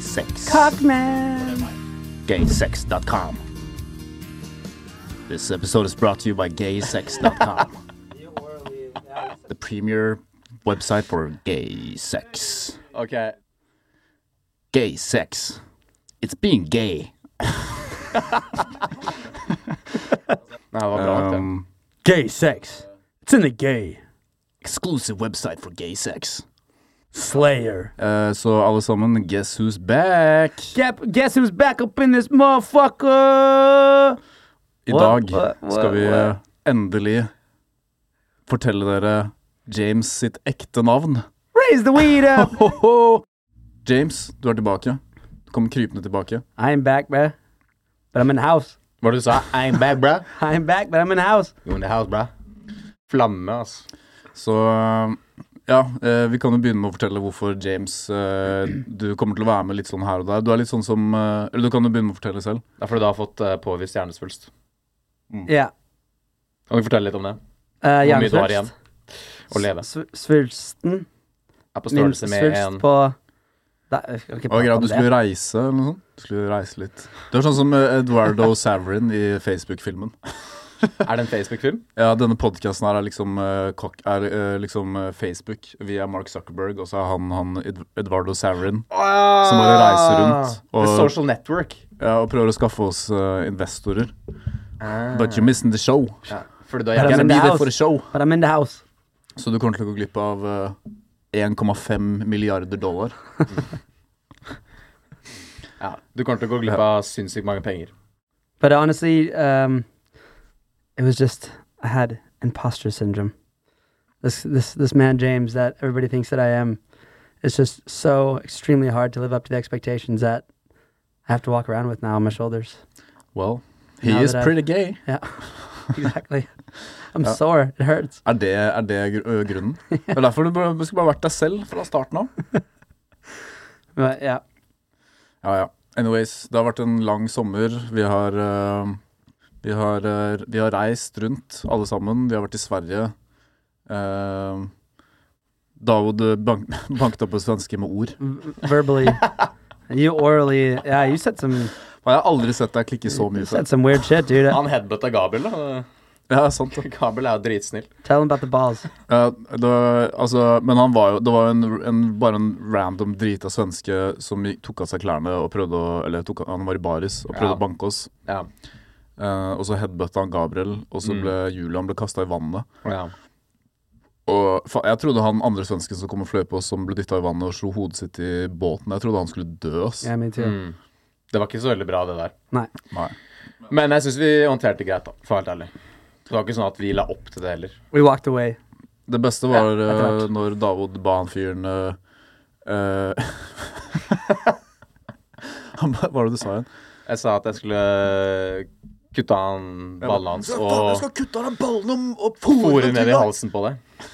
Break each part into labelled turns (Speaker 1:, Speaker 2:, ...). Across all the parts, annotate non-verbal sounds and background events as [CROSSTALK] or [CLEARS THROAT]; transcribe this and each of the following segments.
Speaker 1: sex.
Speaker 2: Cockman.
Speaker 1: Gaysex.com. This episode is brought to you by gaysex.com, the premier website for gay sex.
Speaker 2: Ok.
Speaker 1: Gay sex. It's being [LAUGHS] gay.
Speaker 2: Nei, det var bra nok, det.
Speaker 1: Um,
Speaker 3: Gay sex. It's in the gay.
Speaker 1: exclusive website for gay sex.
Speaker 3: Slayer.
Speaker 1: Eh, så alle sammen, guess who's back?
Speaker 3: Gap, guess who's back up in this motherfucker?
Speaker 1: I
Speaker 3: What?
Speaker 1: dag
Speaker 3: What?
Speaker 1: skal
Speaker 3: What?
Speaker 1: vi
Speaker 3: What?
Speaker 1: endelig fortelle dere James sitt ekte navn.
Speaker 3: Raise the weed [LAUGHS] up. Oh.
Speaker 1: James, du er tilbake. Du kommer krypende tilbake.
Speaker 3: I ain't back, bruh. But I'm in the house.
Speaker 2: Hva var det du sa? I ain't bad, bra.
Speaker 3: [LAUGHS] I ain't back, but I'm in the house.
Speaker 2: You in the house, bra. Flamme, ass.
Speaker 1: Så ja, eh, vi kan jo begynne med å fortelle hvorfor James eh, Du kommer til å være med litt sånn her og der. Du er litt sånn som eh, Eller du kan jo begynne med å fortelle selv.
Speaker 2: Det er fordi du har fått eh, påvist hjernesvulst.
Speaker 3: Ja.
Speaker 2: Kan du fortelle litt om det?
Speaker 3: Uh,
Speaker 2: Hvor mye du har igjen å leve?
Speaker 3: Svulsten.
Speaker 2: Er på
Speaker 3: Min
Speaker 2: størrelse med Oh,
Speaker 3: svulst
Speaker 2: en
Speaker 3: på Nei, jeg skal ikke
Speaker 1: Det var
Speaker 3: prate
Speaker 1: greit,
Speaker 3: om
Speaker 1: du skulle
Speaker 3: det.
Speaker 1: reise eller noe sånt. Du skulle reise litt. Du er sånn som eh, Eduardo Saverin i Facebook-filmen.
Speaker 2: Er det en Facebook-film?
Speaker 1: Ja, denne podkasten her er liksom, eh, kok- er, eh, liksom eh, Facebook. Vi er Mark Zuckerberg, og så er han, han Ed Eduardo Saverin
Speaker 3: Ah!
Speaker 1: som bare reiser rundt
Speaker 2: The
Speaker 1: og,
Speaker 2: Social Network.
Speaker 1: ja, og prøver å skaffe oss eh, investorer. But you're missing the show.
Speaker 2: Ja, fordi du har
Speaker 3: Ja,
Speaker 1: Gotta
Speaker 3: men
Speaker 1: be
Speaker 3: det Ah. er
Speaker 1: there
Speaker 3: jo-
Speaker 1: for the show.
Speaker 3: But I'm in the house.
Speaker 1: Så du kommer til å gå glipp av eh, 1,5 milliarder dollar.
Speaker 2: Ja, du kommer til å gå glipp av sinnssykt mange penger.
Speaker 3: But honestly, um, it was just I had imposter syndrome. This this this man James that everybody thinks that I am, it's just so extremely hard to live up to the expectations that I have to walk around with now on my shoulders.
Speaker 1: Well, he
Speaker 3: Now
Speaker 1: is
Speaker 3: that I-
Speaker 1: pretty gay.
Speaker 3: Yeah, exactly. I'm sore. It hurts.
Speaker 1: Er det, er det gr- ø,
Speaker 3: [LAUGHS]
Speaker 1: grunnen? Det er derfor du bare, du skulle bare vært deg selv fra starten av.
Speaker 3: But yeah,
Speaker 1: Ja, ja. Anyways, det har vært en lang sommer. Vi har, eh, vi har, eh, vi har reist rundt, alle sammen. Vi har vært i Sverige. Uh, Davod eh, bank, [LAUGHS] banket opp en svenske med ord.
Speaker 3: v- verbally, you orally. Yeah, you said some
Speaker 1: Og jeg har aldri sett deg klikke så
Speaker 3: you
Speaker 1: mye
Speaker 3: said
Speaker 1: før.
Speaker 3: some weird shit,
Speaker 2: [LAUGHS]
Speaker 3: dude.
Speaker 2: Han headbutta Gabriel, da. [LAUGHS]
Speaker 1: Ja, sant det.
Speaker 2: Gabriel er jo dritsnill.
Speaker 3: Tell him about the balls.
Speaker 1: Ja, det var- altså, men han var jo Det var jo en, en, bare en random drita svenske som gikk- tok av seg klærne og prøvde å Eller tok, han var i baris og prøvde
Speaker 2: Ja.
Speaker 1: å banke oss.
Speaker 2: Ja.
Speaker 1: Eh, og så headbutta han Gabriel, og så ble Julian ble kasta i vannet.
Speaker 2: ja.
Speaker 1: Og fa Jeg trodde han andre svensken som kom og fløy på oss, som ble dytta i vannet og slo hodet sitt i båten, jeg trodde han skulle dø. ass.
Speaker 3: Yeah, me too.
Speaker 2: Mm. Det var ikke så veldig bra, det der.
Speaker 3: Nei.
Speaker 1: Nei.
Speaker 2: Men jeg syns vi håndterte det greit, da. For å være helt ærlig. Det var ikke sånn at vi la opp til det heller.
Speaker 3: We walked away.
Speaker 1: Det beste var
Speaker 3: Ja, etter
Speaker 1: eh, når Davod ba han fyren eh, eh, [LAUGHS] Han ba- Hva var det du sa igjen?
Speaker 2: Jeg sa at jeg skulle kutte av han ballene hans og
Speaker 1: kutte av deg ballene og
Speaker 2: fòre ned i halsen på deg. [LAUGHS]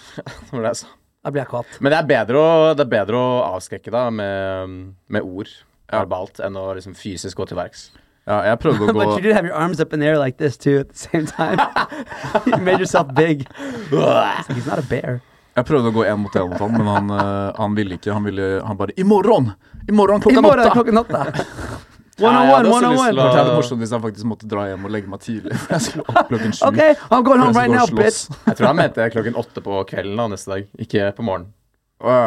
Speaker 2: Det var det jeg sa.
Speaker 3: I ble kåt.
Speaker 2: Men det er bedre å, det er bedre å avskrekke da med, med ord verbalt enn å liksom fysisk gå til verks.
Speaker 1: Ja, jeg
Speaker 3: [LAUGHS]
Speaker 1: prøvde å gå
Speaker 3: But you did have your arms up in the air like this too at the same time. [LAUGHS] you made yourself big. It's like, he's not a bear.
Speaker 1: Jeg prøvde å gå én mot én mot han, men han, eh, han ville ikke. Han ville han bare 'I morgen! I morgen
Speaker 3: I
Speaker 1: klokka
Speaker 3: morgen
Speaker 1: åtte!'
Speaker 3: er klokken [LAUGHS] åtte.
Speaker 2: Ja, jeg
Speaker 3: 101,
Speaker 2: hadde også lyst til
Speaker 3: 101.
Speaker 2: å-
Speaker 1: Det hadde vært morsomt hvis jeg faktisk måtte dra hjem og legge meg tidlig. [LAUGHS] For jeg skulle opp klokken sju.
Speaker 3: Okay, I'm going
Speaker 1: for jeg
Speaker 3: home
Speaker 1: skulle
Speaker 3: right
Speaker 1: gå
Speaker 3: now,
Speaker 1: og slåss.
Speaker 3: bitch.
Speaker 2: Jeg tror han mente klokken åtte på kvelden da, neste dag, ikke på morgenen.
Speaker 1: Å, ja.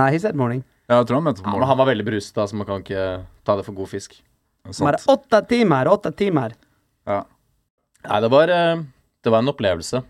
Speaker 3: Nah, he said morning.
Speaker 1: Ja, jeg tror han mente på
Speaker 2: Ja, men
Speaker 1: morgenen.
Speaker 2: han var veldig bruset, da, så man kan ikke ta det for god fisk.
Speaker 3: Som er
Speaker 1: Sant.
Speaker 3: åtte timer, åtte timer.
Speaker 1: Ja.
Speaker 2: Nei, det var, eh, det var en opplevelse.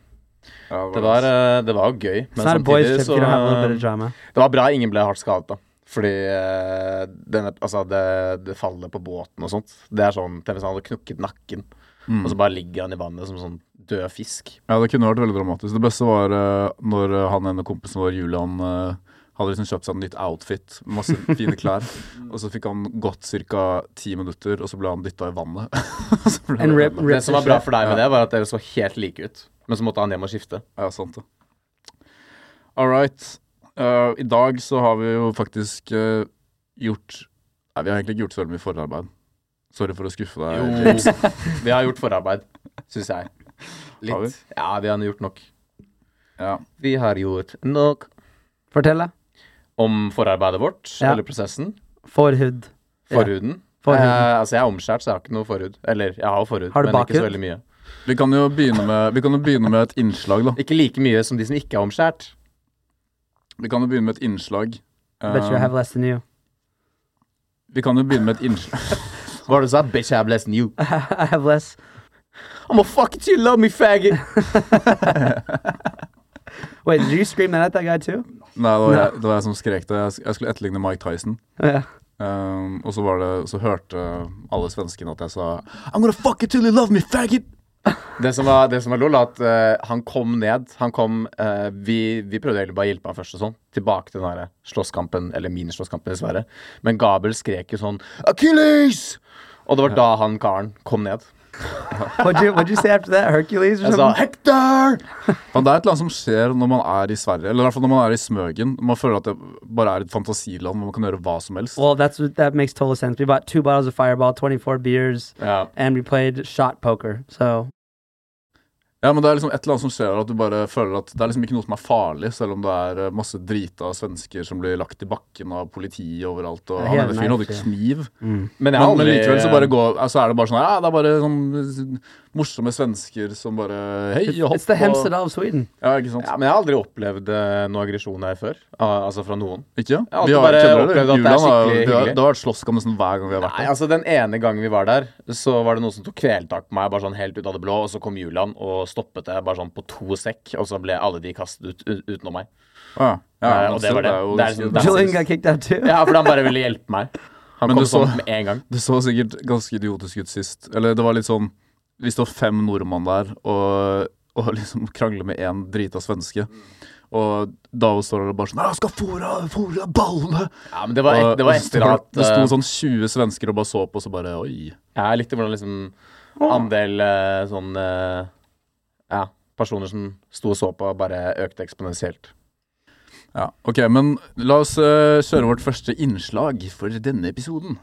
Speaker 1: Ja,
Speaker 2: Det var, eh, det var jo gøy, men
Speaker 3: It's not a boys
Speaker 2: samtidig
Speaker 3: trip if
Speaker 2: så
Speaker 3: you don't have a little bit
Speaker 2: eh,
Speaker 3: of drama.
Speaker 2: Det var bra ingen ble hardt skadet, da. Fordi eh, denne, altså det, det fallet på båten og sånt Det er sånn Tenk hvis han hadde knukket nakken, og
Speaker 3: Mm.
Speaker 2: så bare ligger han i vannet som sånn død fisk.
Speaker 1: Mm. ja, det kunne vært veldig dramatisk. Det beste var eh, når eh, han ene kompisen vår, Julian, eh, hadde liksom kjøpt seg en nytt outfit,
Speaker 2: [LAUGHS]
Speaker 1: masse fine klær, og så fikk han gått ca. ti minutter, og så ble han dytta i vannet. [LAUGHS] Og så ble han
Speaker 3: And rip,
Speaker 1: ødelagt.
Speaker 3: rip
Speaker 2: Det som var bra for deg med det, var at dere så helt like ut. Men så måtte han hjem og skifte.
Speaker 1: Ja, sant det. All right. Eh, I dag så har vi jo faktisk eh, gjort Nei, vi har egentlig ikke gjort så veldig mye forarbeid. Sorry for å skuffe deg. James.
Speaker 2: [LAUGHS] Vi har gjort forarbeid, syns jeg.
Speaker 1: Har vi?
Speaker 2: Litt. Ja, vi har gjort nok.
Speaker 1: Ja.
Speaker 2: Vi har gjort nok
Speaker 3: Fortell deg.
Speaker 2: om forarbeidet vårt,
Speaker 3: Ja.
Speaker 2: eller prosessen.
Speaker 3: Forhud.
Speaker 2: Forhuden?
Speaker 3: Forhuden.
Speaker 2: Eh, altså, jeg er omskjært, så jeg har ikke noe forhud. Eller, jeg har jo forhud,
Speaker 3: Har du
Speaker 2: men ikke så
Speaker 3: bakhud?
Speaker 2: veldig mye.
Speaker 1: Vi kan jo begynne med, vi kan jo begynne med et innslag, da.
Speaker 2: Ikke like mye som de som ikke er omskjært.
Speaker 1: Vi kan jo begynne med et innslag.
Speaker 3: I bet you I
Speaker 1: Eh,
Speaker 3: have less than you. [LAUGHS]
Speaker 1: vi kan jo begynne med et innslag
Speaker 2: Hva var det du sa? Bitch, I have less than you.
Speaker 3: I have less.
Speaker 2: I'm a fuck you, love me, faggot.
Speaker 3: Wait, did you scream that at that guy too?
Speaker 1: Nei, det var, jeg, det var jeg som skrek det. Jeg sk- Jeg skulle etterligne Mike Tyson.
Speaker 3: Yeah.
Speaker 1: Um, og så, var det, så hørte alle svenskene at jeg sa I'm gonna fuck you till you love me, faggot!
Speaker 2: Det som var, det som var lol, var at eh, han kom ned. Han kom eh, vi, vi prøvde egentlig bare å hjelpe han først og sånn. Tilbake til den derre slåsskampen, eller minislåsskampen, dessverre. Men Gabriel skrek jo sånn Achilles! Og det var da han karen kom ned.
Speaker 3: [LAUGHS] What'd you What'd you say after that? Hercules or
Speaker 2: Jeg sa
Speaker 3: something?
Speaker 2: Hector!
Speaker 3: [LAUGHS]
Speaker 1: Men det er et eller annet som skjer når man er i Sverige, eller i hvert fall når man er i Smøgen. Man føler at det bare er et fantasiland hvor man kan gjøre hva som helst.
Speaker 3: Well, that's what- that makes total sense. We bought two bottles of Fireball, 24 beers,
Speaker 2: Ja.
Speaker 3: and we played shot poker. So
Speaker 1: Ja, men det er liksom et eller annet som skjer at du bare føler at det er liksom ikke noe som er farlig, selv om det er eh, masse drita svensker som blir lagt i bakken av politiet overalt, og
Speaker 3: Ja,
Speaker 1: han
Speaker 3: hele
Speaker 1: ene fyren hadde
Speaker 3: knife,
Speaker 1: ikke kniv.
Speaker 3: Mm.
Speaker 2: Men, jeg
Speaker 1: Men,
Speaker 2: har
Speaker 1: men
Speaker 2: aldri-
Speaker 1: likevel så bare går, altså er det bare sånn her, ja, det er bare sånn eh, morsomme svensker som bare Hei,
Speaker 3: it's,
Speaker 1: hopp
Speaker 3: it's the
Speaker 1: og
Speaker 3: Hemsedal of Sweden.
Speaker 1: Ja, ikke sant?
Speaker 2: ja, men jeg har aldri opplevd eh, noe aggresjon her før. Al- altså fra noen.
Speaker 1: Ikke?
Speaker 2: Jeg
Speaker 1: Vi
Speaker 2: har alltid bare
Speaker 1: kjenner
Speaker 2: opplevd at det er
Speaker 1: Julian har- vi
Speaker 2: skikkelig
Speaker 1: har-
Speaker 2: hyggelig.
Speaker 1: Det har vært slåsskamp nesten hver gang vi har vært
Speaker 2: Nei,
Speaker 1: der.
Speaker 2: altså Den ene gangen vi var der, så var det noen som tok kvelertak på meg bare sånn helt ut av det blå. Og så kom Julian og stoppet det bare sånn på to sekk, og så ble alle de kastet ut u- utenom meg.
Speaker 1: Ja, ja,
Speaker 2: Nei,
Speaker 1: men
Speaker 2: og det
Speaker 1: så
Speaker 2: var det.
Speaker 1: er jo-
Speaker 2: Det er sånn-
Speaker 3: Julian got kicked out too.
Speaker 2: Ja, for han bare ville hjelpe [LAUGHS] meg. Han
Speaker 1: Men
Speaker 2: kom
Speaker 1: du så-
Speaker 2: sånn med en gang.
Speaker 1: Det så sikkert ganske idiotisk ut sist. Eller det var litt sånn Vi står fem nordmann der og, og liksom krangler med én drita svenske. Og Dao står der og bare sånn 'Jeg skal fôre, fôre ballene!'
Speaker 2: Ja, men Det var, et, det
Speaker 1: Og-
Speaker 2: var
Speaker 1: og så
Speaker 2: etter at
Speaker 1: Det
Speaker 2: eh,
Speaker 1: sto sånn 20 svensker og bare så på, og så bare Oi.
Speaker 2: Jeg likte hvordan liksom andel eh, sånn eh, Ja, personer som sto og så på, bare økte eksponentielt.
Speaker 1: Ja, ok, men la oss eh, kjøre vårt første innslag for denne episoden.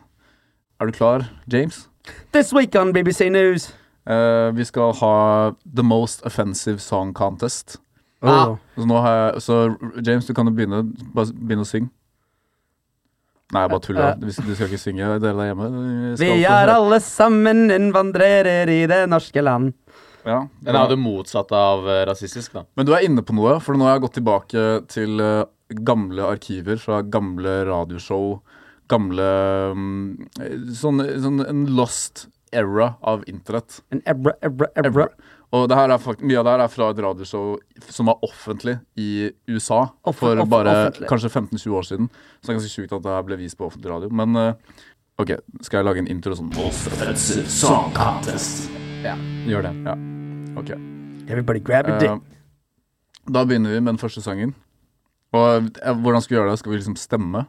Speaker 1: Er du klar, James?
Speaker 3: This week on BBC News.
Speaker 1: Eh, vi skal ha The Most Offensive Song Contest.
Speaker 2: Ah.
Speaker 3: Oh.
Speaker 1: Så, nå har jeg, så James, du kan jo begynne, bare begynne å synge. Nei, jeg bare tuller.
Speaker 3: Eh,
Speaker 1: Du skal, du skal ikke synge, dere der hjemme. Vi skal
Speaker 3: Vi er
Speaker 1: få høre-
Speaker 3: alle sammen innvandrere i det norske land.
Speaker 1: ja,
Speaker 2: Den er jo det motsatte av eh, rasistisk, da.
Speaker 1: Men du er inne på noe, for nå har jeg gått tilbake til eh, gamle arkiver fra gamle radioshow. Gamle mm, sånn, sånn en lost era av internett.
Speaker 3: En ebra, ebra, ebra.
Speaker 1: Ever. Og det her er fakt mye av det her er fra et radioshow som var offentlig i USA
Speaker 3: Offen-
Speaker 1: for
Speaker 3: offen-
Speaker 1: bare
Speaker 3: offentlig.
Speaker 1: kanskje 15-20 år siden. Så det er ganske sjukt at det her ble vist på offentlig radio. Men eh, OK, skal jeg lage en intro sånn?
Speaker 2: Ja, gjør det.
Speaker 1: Ok.
Speaker 3: Everybody grab your dick.
Speaker 1: Eh, da begynner vi med den første sangen. Og eh, hvordan skal vi gjøre det? Skal vi liksom stemme?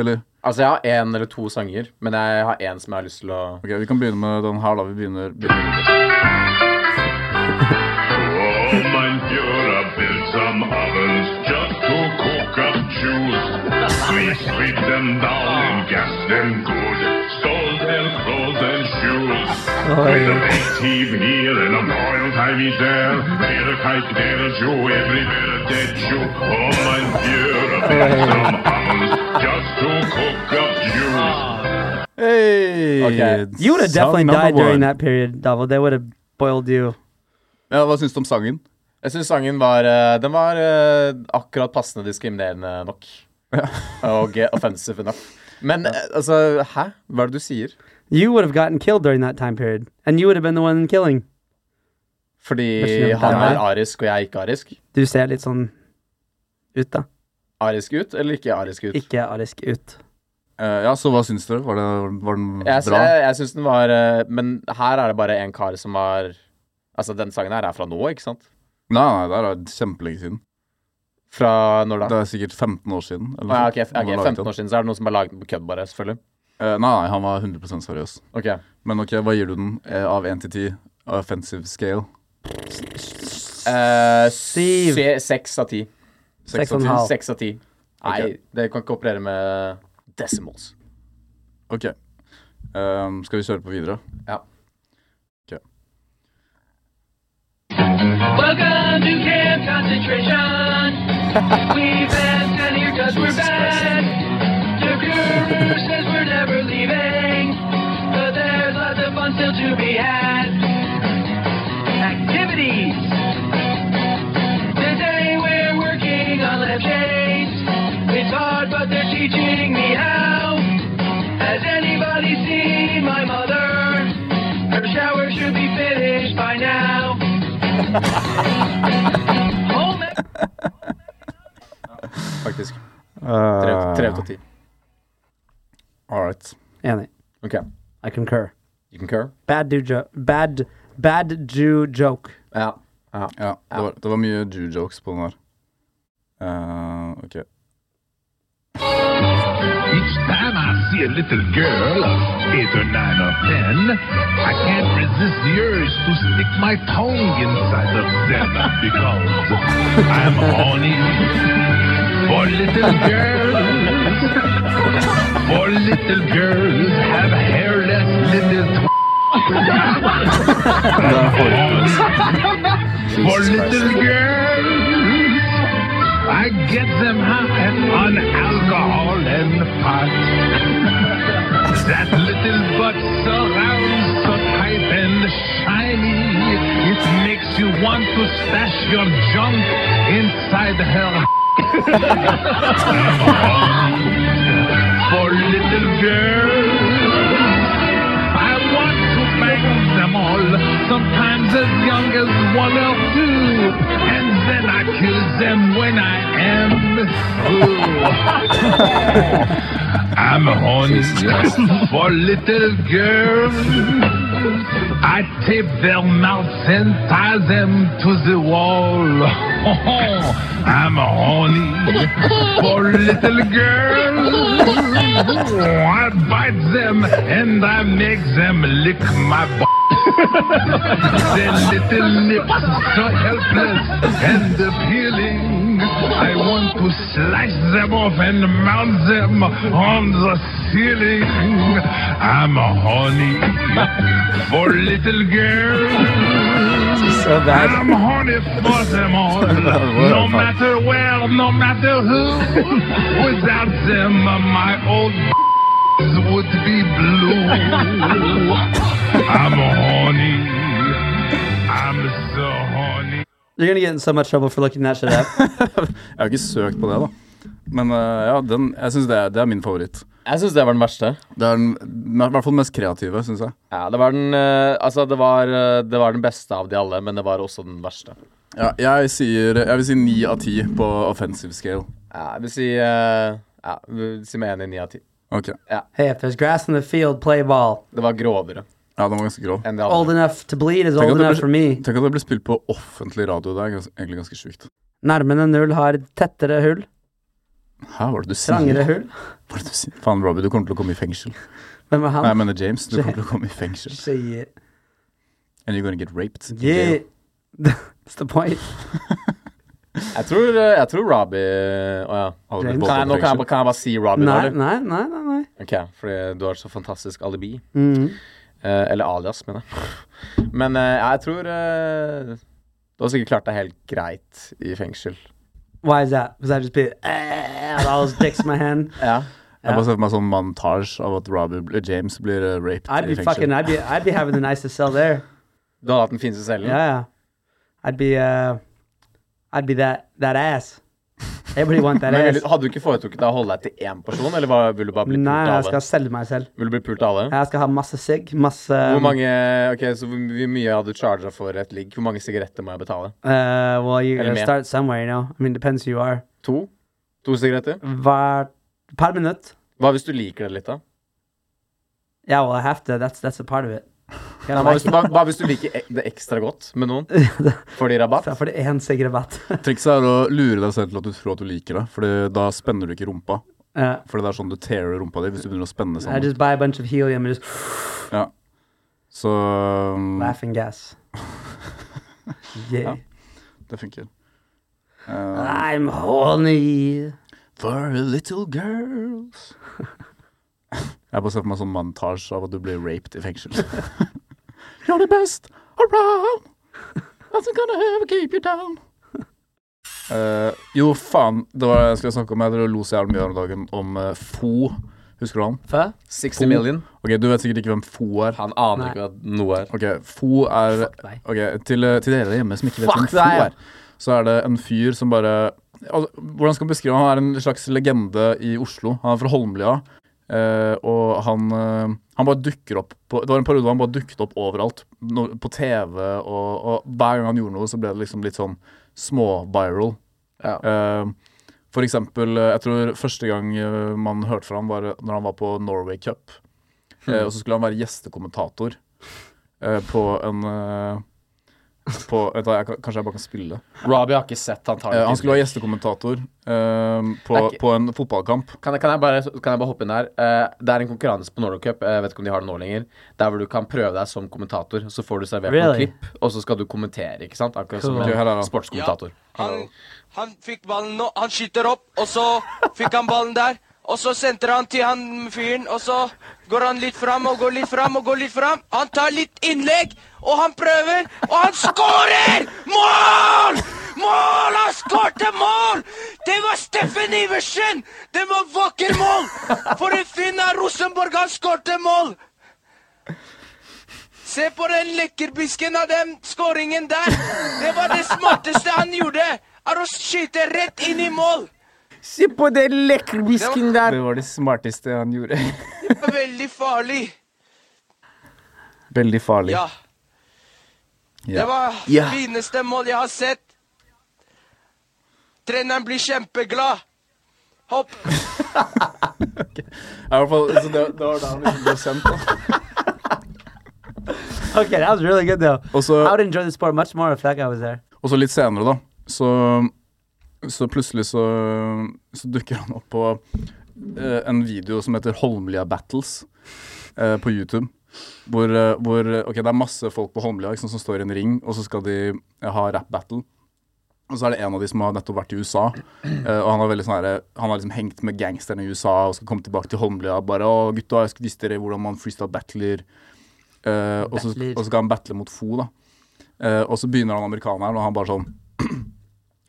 Speaker 1: Eller?
Speaker 2: Altså, jeg har én eller to sanger, men jeg har én som jeg har lyst til å
Speaker 1: Ok, vi kan begynne med den her, da. Vi begynner, begynner.
Speaker 4: Oh, mein Führer, Bild am Abend, just to cook up juice. Sleep, sleep them down and gas them good. Sold and clothes and shoes. With a big team here and a royal time is there. Tierkeit der Jew, everywhere a dead Jew. Oh, mein Führer, Bild am Abend, just to cook up juice.
Speaker 1: Hey,
Speaker 3: You would have
Speaker 1: song
Speaker 3: definitely
Speaker 1: number
Speaker 3: died
Speaker 1: one.
Speaker 3: during that period, Davil. They would have boiled you.
Speaker 1: Ja, Hva syns du om sangen?
Speaker 2: Jeg syns sangen var eh, Den var eh, akkurat passende diskriminerende nok. Og eh, offensive enough. Men eh, altså, hæ? Hva er det du sier?
Speaker 3: You would have gotten killed during that time period, and you would have been the one killing.
Speaker 2: Fordi
Speaker 3: Det er ikke
Speaker 2: han
Speaker 3: den
Speaker 2: er arisk, og jeg er ikke arisk?
Speaker 3: Du ser litt sånn ut, da.
Speaker 2: Arisk ut eller ikke arisk ut?
Speaker 3: Ikke arisk ut.
Speaker 1: Eh, ja, så hva syns dere? Var, det, var den
Speaker 2: Jeg,
Speaker 1: bra?
Speaker 2: jeg, jeg syns den var eh, Men her er det bare en kar som har Altså, den sangen her er fra nå, ikke sant?
Speaker 1: Nei, nei, det er kjempelenge siden.
Speaker 2: Fra når da?
Speaker 1: Det er sikkert 15 år siden.
Speaker 3: Ah,
Speaker 1: sånn.
Speaker 2: Å, ja, ok, f- ok, 15 år siden så er det noen som har laget den på kødd, bare, selvfølgelig.
Speaker 1: nei, Eh, nei, han var 100 seriøs.
Speaker 2: Ok,
Speaker 1: Men ok, hva gir du den eh, av 1 til 10? Offensive scale?
Speaker 2: eh,
Speaker 3: Syv.
Speaker 2: se- Seks av ti.
Speaker 3: Seks og en halv.
Speaker 2: Seks av ti. Nei,
Speaker 1: Ok.
Speaker 2: det kan ikke operere med decimals.
Speaker 1: Ok. Ehm, skal vi kjøre på videre?
Speaker 2: Ja.
Speaker 5: Welcome to Camp Concentration. We've been sent here because we're bad. The guru says we're never leaving. to be had. Activities. Today we're working on lampshades. It's hard, but they're teaching me how. Has anybody seen my mother? Her shower should be finished by now. Home
Speaker 2: faktisk. Tre
Speaker 1: Uh,
Speaker 2: ut- Tre ut av ti.
Speaker 1: All right.
Speaker 3: Enig.
Speaker 2: OK.
Speaker 3: I concur.
Speaker 2: You concur?
Speaker 3: Bad Jew joke. Bad, bad Jew joke.
Speaker 2: Ja. ja.
Speaker 1: Ja, det var, det var mye Jew jokes på den her. Eh, ok.
Speaker 4: Each time I see a little girl of eight or nine or ten, I can't resist the urge to stick my tongue inside of them because I'm horny for little girls. For little girls have hairless little. for little girls, I get them high on alcohol and pot. [LAUGHS] that little butt surrounds so tight and shiny, it makes you want to stash your junk inside her. [LAUGHS] For little girls, I want to bang them all, sometimes as young as one or two, and then I kill them when I am through. I'm horny [LAUGHS] for little girls. I tape their mouths and tie them to the wall. [LAUGHS] I'm horny for little girls. I bite them and I make them lick my b- Their little lips so helpless and appealing. I want to slice them off and mount them on the ceiling. I'm horny for little girls.
Speaker 2: So bad.
Speaker 4: I'm horny for
Speaker 2: [LAUGHS]
Speaker 4: them all. no matter where, no matter who. Without them, uh, my old [LAUGHS] would be blue. I'm horny. I'm so horny.
Speaker 3: You're gonna get in so much trouble for looking that shit
Speaker 1: [LAUGHS]
Speaker 3: up.
Speaker 1: Jeg har ikke søkt på det, da. Men eh, ja, den, jeg syns det, er- det er min favoritt.
Speaker 2: Jeg syns det var den verste.
Speaker 1: Det er den, i hvert fall den mest kreative, syns jeg.
Speaker 2: Ja, det var den eh, Altså, det var, eh, det var den beste av de alle, men det var også den verste.
Speaker 1: Ja, jeg, sier, jeg vil si ni av ti på offensive scale.
Speaker 2: Ja, jeg vil si eh, Ja, jeg vil si meg enig i ni av ti.
Speaker 1: Ok,
Speaker 3: hey, if there's grass in the field, play ball.
Speaker 2: Det var grovere
Speaker 1: ja, Den var ganske grov.
Speaker 2: enn de
Speaker 3: Old
Speaker 2: andre.
Speaker 3: enough to bleed is old
Speaker 1: at det
Speaker 3: enough
Speaker 1: blir-
Speaker 3: for me.
Speaker 1: Tenk at det ble spilt på offentlig radio. Det er gans, egentlig ganske sjukt.
Speaker 3: Nærmere null har tettere hull.
Speaker 1: Hæ, hva er det du sier?
Speaker 3: Trangere hull.
Speaker 1: Hva er det du sier? Faen, Robbie, du kommer til å komme i fengsel.
Speaker 3: Hvem er
Speaker 1: Nei, jeg
Speaker 3: han?
Speaker 1: mener James. Du
Speaker 3: [LAUGHS]
Speaker 1: kommer til å komme i fengsel.
Speaker 3: Shit.
Speaker 1: And you're gonna get raped. in
Speaker 3: Yeah.
Speaker 1: jail.
Speaker 3: [LAUGHS] That's the point.
Speaker 2: Jeg tror, eh, jeg tror Robbie Å ja.
Speaker 1: Alle blir
Speaker 3: James.
Speaker 2: Kan jeg, nå
Speaker 1: voldtatt i
Speaker 2: kan jeg, bare-
Speaker 1: fengsel.
Speaker 2: kan jeg bare si Robbie nå,
Speaker 3: Nei,
Speaker 2: eller?
Speaker 3: nei, nei, nei. nei.
Speaker 2: Ok, fordi du har et så fantastisk alibi.
Speaker 3: Mm.
Speaker 2: Eh, eller alias, mener jeg. [LAUGHS] Men eh, jeg tror eh, Du har sikkert klart deg helt greit i fengsel.
Speaker 3: Why is that? Because I just be "Ah," with all those dicks in my hand.
Speaker 1: [LAUGHS]
Speaker 2: Ja.
Speaker 1: Jeg bare ser for meg sånn montage av at Robbie, bl- James blir eh, raped
Speaker 3: I'd
Speaker 1: i
Speaker 3: be fucking.
Speaker 1: fengsel.
Speaker 3: I'd be. I'd be having the nicest cell
Speaker 1: [LAUGHS]
Speaker 3: there.
Speaker 2: Du hadde hatt den fineste cellen.
Speaker 3: Yeah. I'd be. Uh, I'd be that that ass. Everybody want
Speaker 1: [LAUGHS]
Speaker 3: that
Speaker 2: Men ville-
Speaker 3: ass.
Speaker 2: hadde du ikke foretrukket deg å holde deg til én person, eller hva, vil du bare bli
Speaker 3: Nei,
Speaker 2: pult
Speaker 3: nei, jeg
Speaker 2: av
Speaker 3: skal
Speaker 2: alle?
Speaker 3: selge meg selv.
Speaker 2: Vil du bli pult av alle?
Speaker 3: Jeg skal ha masse sigg. Masse
Speaker 2: Hvor mange Ok, så hvor hvor mye hadde du charga for et ligg? Hvor mange sigaretter må jeg betale?
Speaker 3: Uh, well, you
Speaker 2: Eller
Speaker 3: gotta
Speaker 2: mer.
Speaker 3: start somewhere, you know. I mean, depends who you are.
Speaker 2: To? To sigaretter?
Speaker 3: Hver, per minutt.
Speaker 2: Hva hvis du liker det litt, da?
Speaker 3: Yeah, well, I have to. That's that's a part of it.
Speaker 2: Nei, Hva hvis, hva, hva hvis du liker ek- det ekstra godt med
Speaker 3: [LAUGHS]
Speaker 2: noen? Får de rabatt?
Speaker 3: For det er én sigg rabatt.
Speaker 1: Trikset er å lure deg selv til at du tror at du liker det, Fordi da spenner du ikke rumpa.
Speaker 3: [LAUGHS] Uh,
Speaker 1: For det er sånn du tearer rumpa di hvis du begynner å spenne
Speaker 2: Sånn.
Speaker 3: I
Speaker 1: sammen.
Speaker 3: just buy a bunch of helium and just
Speaker 1: Ja. Så um,
Speaker 3: laughing
Speaker 2: [LAUGHS]
Speaker 3: gas. Yeah.
Speaker 1: det funker. Eh,
Speaker 3: I'm horny.
Speaker 1: For little girls Jeg bare ser for meg sånn montasje av at du blir raped i fengsel. [LAUGHS] You're the best around. Nothing gonna ever keep you down. Eh, jo, faen. Det var det jeg skulle snakke om. Jeg dro- lo så jævlig mye her om dagen om eh, FO. Husker du han?
Speaker 3: Fø?
Speaker 2: 60 million.
Speaker 1: Ok, Du vet sikkert ikke hvem Fo er.
Speaker 2: Han aner
Speaker 3: Nei.
Speaker 2: ikke hva noe er.
Speaker 1: Ok, Fo er
Speaker 3: Fuck deg.
Speaker 1: Ok, til, eh, til dere hjemme som ikke vet
Speaker 2: Fuck
Speaker 1: hvem Fo
Speaker 2: deg.
Speaker 1: er, så er det en fyr som bare altså, Hvordan skal man beskrive han? Han er en slags legende i Oslo. Han er fra Holmlia. eh, og han, eh, han bare dukker opp på, Det var en periode hvor han bare dukket opp overalt. No, på TV, og, og hver gang han gjorde noe, så ble det liksom litt sånn små-viral.
Speaker 2: Ja.
Speaker 1: Eh, for eksempel, eh, jeg tror første gang eh, man hørte fra ham var eh, når han var på Norway Cup. Eh, og så skulle han være gjestekommentator eh, på en eh, på, vet du, hva, jeg, kan- Kanskje jeg bare kan spille det.
Speaker 2: Robbie har ikke sett han tar
Speaker 1: Eh,
Speaker 2: det
Speaker 1: han
Speaker 2: til.
Speaker 1: skulle være gjestekommentator eh, på,
Speaker 2: Det er ikke-
Speaker 1: på en fotballkamp.
Speaker 2: Kan jeg, kan, jeg bare, kan jeg bare hoppe inn der? Eh, det er en konkurranse på Norway Cup, Eh, jeg vet ikke om de har det nå lenger, der hvor du kan prøve deg som kommentator. Så får du servert noen
Speaker 3: Really?
Speaker 2: klipp, og så skal du kommentere, ikke sant? Akkurat som
Speaker 3: Cool.
Speaker 2: en
Speaker 1: Ok, her er han.
Speaker 2: sportskommentator.
Speaker 6: Han, han fikk ballen nå, han skyter opp, og så fikk han ballen der. Og så sentrer han til han fyren, og så går han litt fram og går litt fram og går litt fram. Han tar litt innlegg, og han prøver, og han skårer! Mål! Mål! Han skårte mål! Det var Steffen Iversen! Det var vakker mål! For en finn av Rosenborg, han skårte mål! Se på den lekkerbisken av den skåringen der. Det var det smarteste han gjorde. Er å skyte rett inn i mål.
Speaker 2: Se på den lekkerbisken der!
Speaker 1: Det var det smarteste han [LAUGHS] gjorde.
Speaker 6: Det var veldig farlig.
Speaker 1: Veldig farlig.
Speaker 6: Ja. Det var
Speaker 2: Ja.
Speaker 6: fineste mål jeg har sett. Treneren blir kjempeglad. Hopp.
Speaker 1: I hvert fall, så det, det var da han liksom ble kjent. da.
Speaker 3: Okay, that was really good though.
Speaker 1: Og så,
Speaker 3: I would enjoy the sport much more if that guy was there.
Speaker 1: og så litt senere, da, så, så plutselig så, så dukker han opp på eh, en video som heter Holmlia Battles eh, på YouTube. Hvor, eh, hvor eh, Ok, det er masse folk på Holmlia ikke sant, som står i en ring, og så skal de eh, ha rap-battle. Og så er det en av de som har nettopp vært i USA. eh, og han har veldig sånn herre- Han har liksom hengt med gangsterne i USA og skal komme tilbake til Holmlia. Bare 'Å, gutta, jeg skulle vise dere hvordan man freestyle battler'. Eh, og, så,
Speaker 3: Battler.
Speaker 1: og så skal han battle mot Fo, da. Eh, og så begynner han amerikaneren, og han bare sånn [CLEARS THROAT]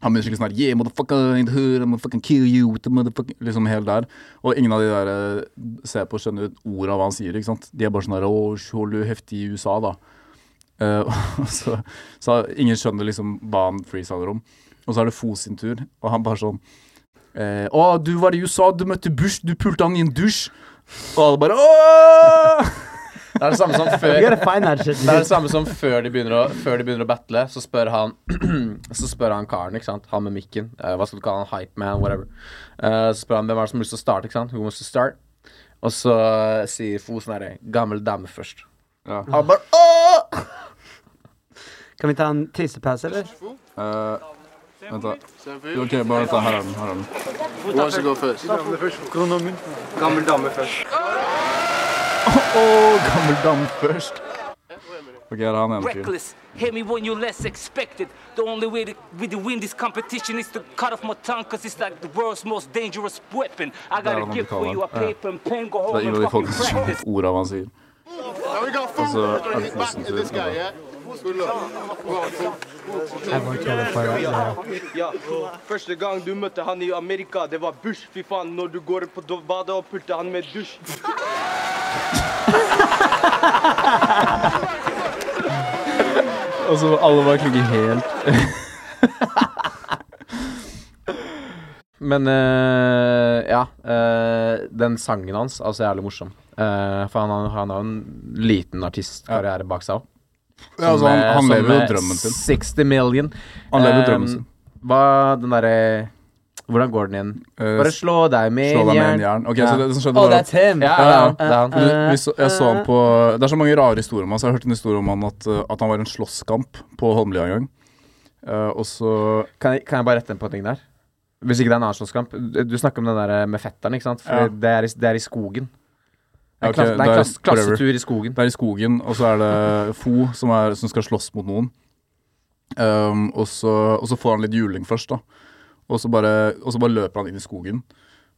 Speaker 1: Han begynner skikkelig sånn her Yeah, motherfucker, in the hood, I'm gonna fucking kill you with the motherfucking Liksom helt der. Og ingen av de der eh, ser på og skjønner ut ordet av hva han sier, ikke sant. De er bare sånn her Å, holder du heftig i USA, da? Eh, [LAUGHS] og så, så ingen skjønner liksom hva han freestyler om. Og så er det Fo sin tur, og han bare sånn eh, Å, du var i USA, du møtte Bush, du pulte han i en dusj. Og alle bare Åh!
Speaker 2: Det er det samme
Speaker 3: [LAUGHS]
Speaker 2: som
Speaker 3: You
Speaker 2: før
Speaker 3: gotta find that shit.
Speaker 2: det er [LAUGHS]
Speaker 3: Dude.
Speaker 2: det samme som før de begynner å, før de begynner å battle, så spør han [CLEARS THROAT] Så spør han karen, ikke sant, han med mikken, eh, hva skal du kalle han, hype man, whatever. Eh, så spør han hvem er det som har lyst til å starte, ikke sant. Who wants to start? Og så sier Fo sånn herre Gammel dame først. Han bare Åh!
Speaker 3: Kan vi ta en tissepass, eller?
Speaker 1: Eh, Vent, da. Ok, bare vent, da. Her er den. Her er den.
Speaker 6: Gammel dame først.
Speaker 1: Å, gammel dame først. Ok, her er han ene fyren.
Speaker 7: reckless. Hit me when you less expected. The only way to, we to win this competition is to cut off my tongue, cause it's like the world's most dangerous weapon. I got
Speaker 1: Daarom
Speaker 7: a gift
Speaker 1: betaal,
Speaker 7: for you, a
Speaker 1: hè?
Speaker 7: paper and pen, go
Speaker 1: Det
Speaker 7: home
Speaker 1: er
Speaker 7: and
Speaker 1: ingen av de
Speaker 7: fucking
Speaker 1: folkene som
Speaker 7: practice.
Speaker 1: [LAUGHS] skjønner ordet av hva han sier. Og så er det Fo sin tur. og
Speaker 3: I've worked here before. Right now.
Speaker 6: Ja. Første gang du møtte han i Amerika, det var Bush. Fy faen, når du går på do- badet og putter han med dusj.
Speaker 1: da- Og så Altså, alle bare klikker helt.
Speaker 2: Men eh, ja, eh, den sangen hans altså jævlig morsom. Eh, for han, har- han har jo en liten artistkarriere bak seg òg.
Speaker 1: Ja, altså, han, han
Speaker 2: Som,
Speaker 1: lever jo
Speaker 2: eh,
Speaker 1: drømmen sin.
Speaker 2: 60 million.
Speaker 1: Han lever jo
Speaker 2: Eh,
Speaker 1: drømmen sin.
Speaker 2: Hva den derre Hvordan går den igjen?
Speaker 1: Eh,
Speaker 2: Bare slå deg med
Speaker 1: Slå deg med
Speaker 2: en
Speaker 1: en jern. Ok,
Speaker 2: Ja.
Speaker 1: så det som skjedde
Speaker 3: Oh,
Speaker 1: var at-
Speaker 3: that's him.
Speaker 2: Ja, ja, ja, det er han.
Speaker 1: Du, vi så, jeg så han på Det er så mange rare historier om han, så jeg har hørt en historie om han at, uh, at han var i en slåsskamp på Holmlia en gang. Eh, og så
Speaker 2: Kan jeg, kan jeg bare rette en på en ting der? Hvis ikke det er en annen slåsskamp. Du- Du snakker om den der eh, med fetteren, ikke sant? For
Speaker 1: Ja.
Speaker 2: det, er i, det er i skogen. Det er,
Speaker 1: Ok,
Speaker 2: klass, det
Speaker 1: det er
Speaker 2: er klass,
Speaker 1: whatever.
Speaker 2: klassetur i skogen.
Speaker 1: Det er i skogen, og så er det Fo som, er, som skal slåss mot noen. Ehm, og, så, og så får han litt juling først, da. Og så bare, og så bare løper han inn i skogen.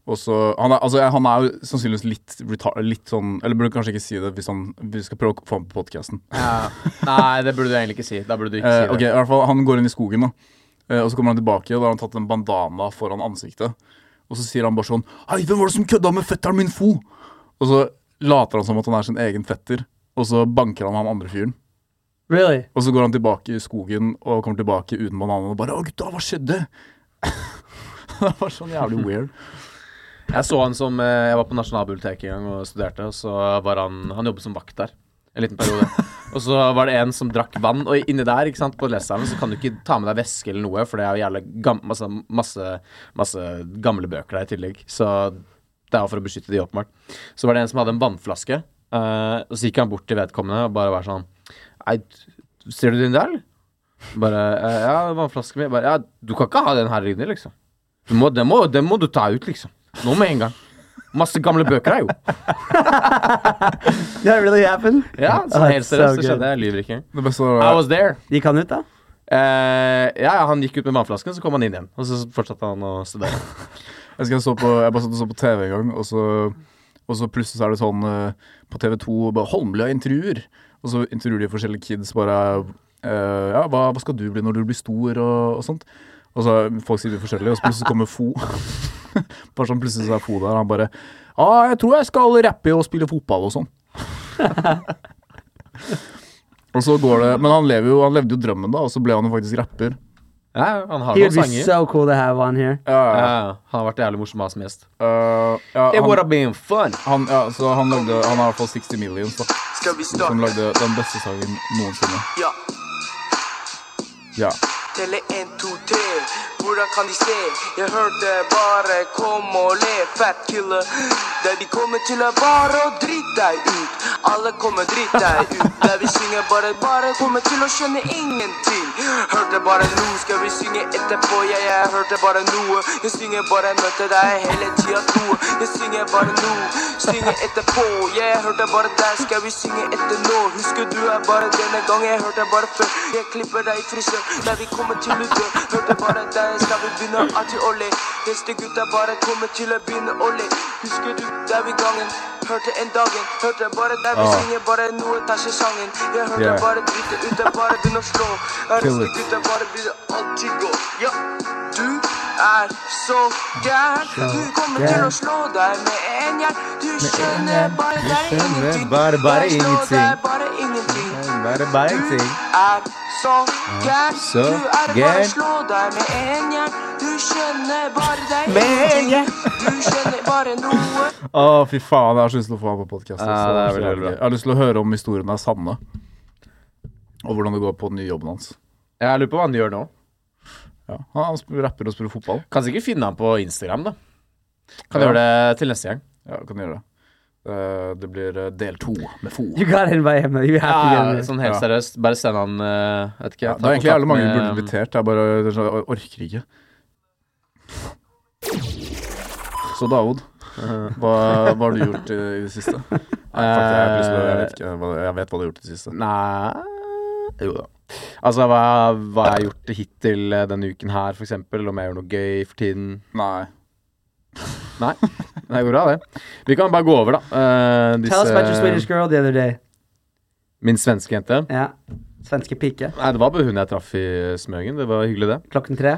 Speaker 1: Og så, han, er, altså, han er jo sannsynligvis litt, retar- litt sånn Eller burde kanskje ikke si det hvis han, vi skal prøve å få ham på podkasten. [LAUGHS]
Speaker 2: Ja. Nei, det burde du egentlig ikke si. Da burde du ikke
Speaker 1: Eh,
Speaker 2: si
Speaker 1: ok, i hvert fall Han går inn i skogen, da. Eh, og så kommer han tilbake, og da har han tatt en bandana foran ansiktet. Og så sier han bare sånn Hei, hvem var det som kødda med fetteren min Fo? Og så later han som at han er sin egen fetter, og så banker han han andre fyren.
Speaker 3: Really?
Speaker 1: Og så går han tilbake i skogen og kommer tilbake uten bananen og bare Å, gutta, hva skjedde? [LAUGHS] det var sånn jævlig weird.
Speaker 2: Jeg så han som eh, Jeg var på Nasjonalbiblioteket en gang og studerte, og så var han Han jobbet som vakt der en liten periode. og så var det en som drakk vann, og inni der, ikke sant, på leseren, så kan du ikke ta med deg væske eller noe, for det er jo jævla gam masse, masse, masse gamle bøker der i tillegg. Så det er jo for å beskytte de, åpenbart. Så var det en som hadde en vannflaske, eh, og så gikk han bort til vedkommende og bare var sånn Nei, ser du den der, eller? Bare eh, Ja, vannflasken min. Bare Ja, du kan ikke ha den her inne, liksom. Du må, den, må, den må du ta ut, liksom. Nå med en gang. Masse gamle bøker her, jo.
Speaker 3: Did that really happen?
Speaker 2: Ja, så
Speaker 3: Ah,
Speaker 2: helt
Speaker 3: it's so
Speaker 2: seriøst, det
Speaker 3: good.
Speaker 2: skjedde. Jeg lyver ikke.
Speaker 1: Det beste var
Speaker 2: I was there.
Speaker 3: Gikk han ut, da?
Speaker 2: Eh, ja, ja, han gikk ut med vannflasken, så kom han inn igjen. Og så fortsatte han å studere.
Speaker 1: Jeg husker jeg så på Jeg bare satt og så på TV en gang, og så, og så plutselig så er det sånn eh, på TV 2 bare Holmlia intervjuer. Og så intervjuer de forskjellige kids bare eh, Ja, hva, hva skal du bli når du blir stor, og, og sånt. Og så er- folk sier det forskjellig, og så plutselig så kommer Fo. [LAUGHS] bare sånn plutselig så er Fo der, og han bare Ja, jeg tror jeg skal rappe og spille fotball og sånn. [LAUGHS] og så går det Men han, lever jo, han levde jo drømmen, da, og så ble han jo faktisk rapper.
Speaker 2: Ja, han har
Speaker 3: He would be
Speaker 2: noen sanger.
Speaker 3: so cool to have on here.
Speaker 1: Ja,
Speaker 2: Ja,
Speaker 1: ja,
Speaker 2: ja, han har vært jævlig morsom som gjest.
Speaker 1: ja, Eh, ja,
Speaker 2: It
Speaker 1: han-
Speaker 2: would have been fun.
Speaker 1: Han, ja, så han, lagde, han har i hvert fall 60 millions, da.
Speaker 8: Skal vi
Speaker 1: Som
Speaker 8: starte?
Speaker 1: lagde den beste sangen noensinne.
Speaker 8: Ja.
Speaker 1: Ja.
Speaker 8: Telle en, to, tre. Hvordan kan de se? Jeg hørte bare kom og eh, le, fat killer. Der de kommer til å bare og drite deg oh, ut. Alle kommer drite deg [LAUGHS] ut. Der vi synger bare, bare kommer til å skjønne ingenting. Hørte bare nå, skal vi synge etterpå? Ja, jeg hørte bare noe. Jeg synger bare møtte deg hele tida to. Jeg synger bare nå, synger etterpå. Jeg hørte bare deg, skal vi synge etter nå? Husker du er bare denne gang, jeg hørte bare før. Jeg klipper deg i frisør, nei vi kommer til å dø. Hørte bare deg, skal vi begynne alltid å le. Neste gutta bare kommer til å begynne å le. Husker du der vi gangen, hørte en dagen. Hørte bare deg, vi
Speaker 1: Ah.
Speaker 8: synger bare noe, tar seg sangen. Jeg hørte
Speaker 1: Yeah.
Speaker 8: bare drite ut, jeg bare begynner å slå. Jeg
Speaker 1: Kill
Speaker 8: Neste
Speaker 1: it.
Speaker 8: gutta bare begynner alltid gå. Ja, du er så gæren. Du kommer til å slå deg med en jern. Du skjønner bare, det er
Speaker 2: skjønner
Speaker 8: ingenting.
Speaker 2: bare- bare
Speaker 8: Jeg slår
Speaker 2: ingenting.
Speaker 8: deg bare ingenting.
Speaker 2: Bare
Speaker 8: Du er så gæren.
Speaker 2: så
Speaker 8: Du er bare
Speaker 2: gæren.
Speaker 8: slå deg med en jern. Du skjønner bare deg
Speaker 2: Med en jern.
Speaker 8: ingenting. Du skjønner bare noe.
Speaker 1: Å, fy faen, jeg har så lyst til å få ham på podkast.
Speaker 2: Ja, det er veldig, veldig bra.
Speaker 1: jeg har lyst til å høre om historiene er sanne. Og hvordan det går på den nye jobben hans.
Speaker 2: Jeg lurer på hva han gjør nå.
Speaker 1: Ja. Han, han sp- rapper og spiller fotball.
Speaker 2: Kan sikkert finne han på Instagram, da. Kan
Speaker 1: Ja.
Speaker 2: gjøre det til neste gang.
Speaker 1: Ja, kan gjøre det. Eh, Det blir eh, del to med Fo.
Speaker 3: You gotta invite him. though. You have to get
Speaker 2: Ja,
Speaker 3: him.
Speaker 2: ja,
Speaker 3: there.
Speaker 2: sånn helt
Speaker 1: Ja.
Speaker 2: seriøst. Bare send han eh, Vet ikke.
Speaker 1: Ja,
Speaker 2: ta
Speaker 1: det er egentlig
Speaker 2: kontakt
Speaker 1: jævlig mange vi burde
Speaker 2: med-
Speaker 1: invitert. Jeg bare jeg skjønner- jeg orker ikke. Så
Speaker 2: [LAUGHS]
Speaker 1: Daoud, hva, hva har du gjort i, i det
Speaker 2: Eh,
Speaker 1: siste? Nei, faktisk, jeg, har lyst til å- jeg, vet ikke, hva- jeg vet hva du har gjort i det siste.
Speaker 2: Nei Jo da. Altså, hva, hva jeg har gjort hittil eh, denne uken her, for eksempel Om jeg gjør noe gøy for tiden.
Speaker 1: Nei.
Speaker 2: Nei. Det går bra, det. Vi kan bare gå over, da. Eh,
Speaker 3: Tell us about your
Speaker 2: disse-
Speaker 3: Swedish girl the other day.
Speaker 2: Min svenske jente.
Speaker 3: Ja. Svenske pike.
Speaker 2: Nei, det var bare hun jeg traff i Smøgen. Det var hyggelig, det.
Speaker 3: Klokken tre.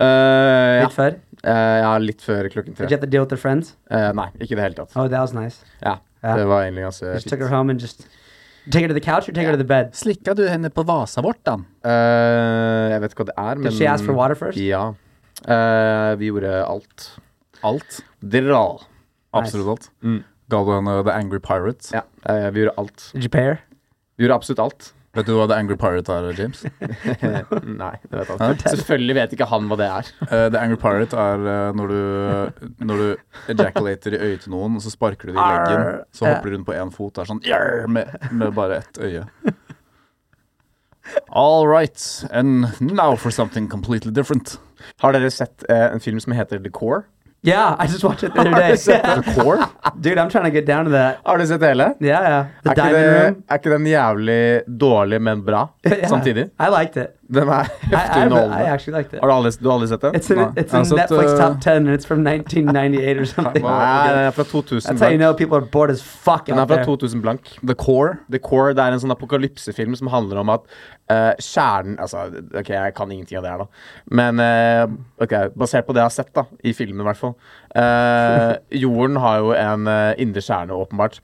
Speaker 2: Eh, ja.
Speaker 3: Litt før.
Speaker 2: Eh, ja, litt før klokken
Speaker 3: Did
Speaker 2: tre.
Speaker 3: you have to deal with her friends?
Speaker 2: Eh, nei, ikke i det hele tatt.
Speaker 3: Oh, that was nice.
Speaker 2: Ja,
Speaker 3: Ja.
Speaker 2: Det var egentlig ganske
Speaker 3: You just took her
Speaker 2: fint.
Speaker 3: home and just take her to the couch or take her to the bed.
Speaker 1: Slikka du henne på vasavortan?
Speaker 2: Eh, jeg vet ikke hva det er, men
Speaker 3: Did she ask for water first?
Speaker 2: Ja. Eh, vi gjorde alt.
Speaker 1: Alt.
Speaker 2: Dra.
Speaker 1: Absolutt alt. Ga du henne The Angry Pirate?
Speaker 2: Ja, eh, vi gjorde alt.
Speaker 3: Did you pay her?
Speaker 2: Vi gjorde absolutt [LAUGHS] alt.
Speaker 1: Vet du hva The Angry Pirate er, James?
Speaker 2: Nei, det vet han ikke. Selvfølgelig vet ikke han hva det er.
Speaker 1: Eh, the Angry Pirate er eh, når du, når du ejaculater i øyet til noen, og så sparker du det i leggen,
Speaker 3: Arr.
Speaker 1: så hopper du rundt på én fot og er sånn "Yarr!" med, med bare ett øye. All right, and now for something completely different.
Speaker 2: Har dere sett eh, en film som heter The Core?
Speaker 3: Yeah, I just watched it
Speaker 2: [LAUGHS]
Speaker 3: the other
Speaker 2: Har
Speaker 3: day.
Speaker 2: dere sett [LAUGHS] The Core?
Speaker 3: Dude, I'm trying to get down to that.
Speaker 2: Har dere sett det hele?
Speaker 3: Yeah, yeah. The
Speaker 2: Er ikke,
Speaker 3: diamond
Speaker 2: det,
Speaker 3: room. [LAUGHS]
Speaker 2: [LAUGHS] er ikke den jævlig dårlig, men bra
Speaker 3: Yeah.
Speaker 2: samtidig?
Speaker 3: I liked it.
Speaker 2: Den er
Speaker 3: I,
Speaker 2: heftig
Speaker 3: I, I
Speaker 2: underholdende.
Speaker 3: actually liked it.
Speaker 2: Har du aldri, du har aldri sett den?
Speaker 3: It's in,
Speaker 1: Nei.
Speaker 3: it's in
Speaker 1: Altså,
Speaker 3: Netflix
Speaker 2: eh,
Speaker 1: uh,
Speaker 3: top 10 and it's from 1998 or something. Ah,
Speaker 2: Nei, den er fra 2000
Speaker 3: That's how you
Speaker 2: blank.
Speaker 3: know people are bored as fuck
Speaker 2: Den
Speaker 3: out
Speaker 2: er fra
Speaker 3: there.
Speaker 2: 2000 blank.
Speaker 1: The Core.
Speaker 2: The Core det er en sånn apokalypsefilm som handler om at eh, kjernen Altså, ok, jeg kan ingenting av det her, da. Men eh, ok, basert på det jeg har sett, da, i filmen i hvert fall eh, Jorden har jo en eh, indre kjerne, åpenbart.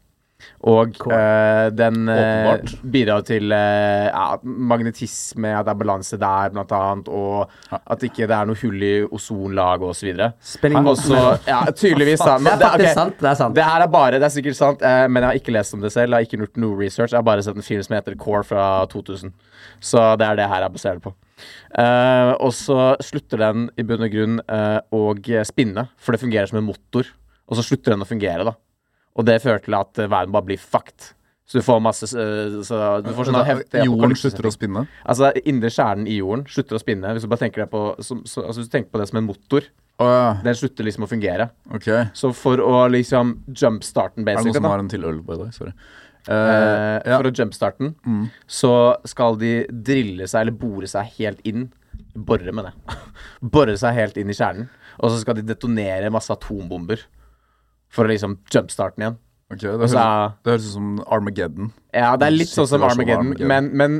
Speaker 2: Og eh, den eh,
Speaker 1: Åpenbart.
Speaker 2: bidrar jo til eh, ja, magnetisme, at det er balanse der, blant annet, og at ikke det er noe hull i ozonlaget osv.
Speaker 3: Spinning
Speaker 2: Også, ja, tydeligvis, da.
Speaker 3: Det er
Speaker 2: ok.
Speaker 3: faktisk sant, det er sant.
Speaker 2: Det her er bare, det er sikkert sant, eh, men jeg har ikke lest om det selv. Jeg har ikke gjort noe research. Jeg har bare sett en film som heter Core fra 2000. Så det er det her jeg baserer det på. Eh, og så slutter den i bunn og grunn eh, å spinne, for det fungerer som en motor. Og så slutter den å fungere, da. Og det fører til at eh, verden bare blir fucked. Så du får masse eh, så du får sånne heftige
Speaker 1: Altså, Jorden
Speaker 2: apokalypse-
Speaker 1: slutter å spinne.
Speaker 2: Altså, indre kjernen i jorden slutter å spinne. Hvis du bare tenker deg på, som, så, altså, hvis du tenker på det som en motor,
Speaker 1: Å ja,
Speaker 2: den slutter liksom å fungere.
Speaker 1: ok. Er
Speaker 2: Så for å liksom jumpstarte den,
Speaker 1: det noen
Speaker 2: basically,
Speaker 1: som
Speaker 2: da,
Speaker 1: har en til øl, by the way? Sorry. ja.
Speaker 2: eh,
Speaker 1: Mm.
Speaker 2: for å jumpstarte den, så skal de drille seg eller bore seg helt inn. Borre med det. [LAUGHS] borre seg helt inn i kjernen. Og så skal de detonere masse atombomber for å liksom jumpstarte den igjen.
Speaker 1: Ok, det,
Speaker 2: Og
Speaker 1: høres,
Speaker 2: så er-
Speaker 1: det høres ut som Armageddon.
Speaker 2: Ja, det er litt
Speaker 1: Shit,
Speaker 2: sånn som
Speaker 1: det var sånn
Speaker 2: Armageddon, men,
Speaker 1: Armageddon.
Speaker 2: men,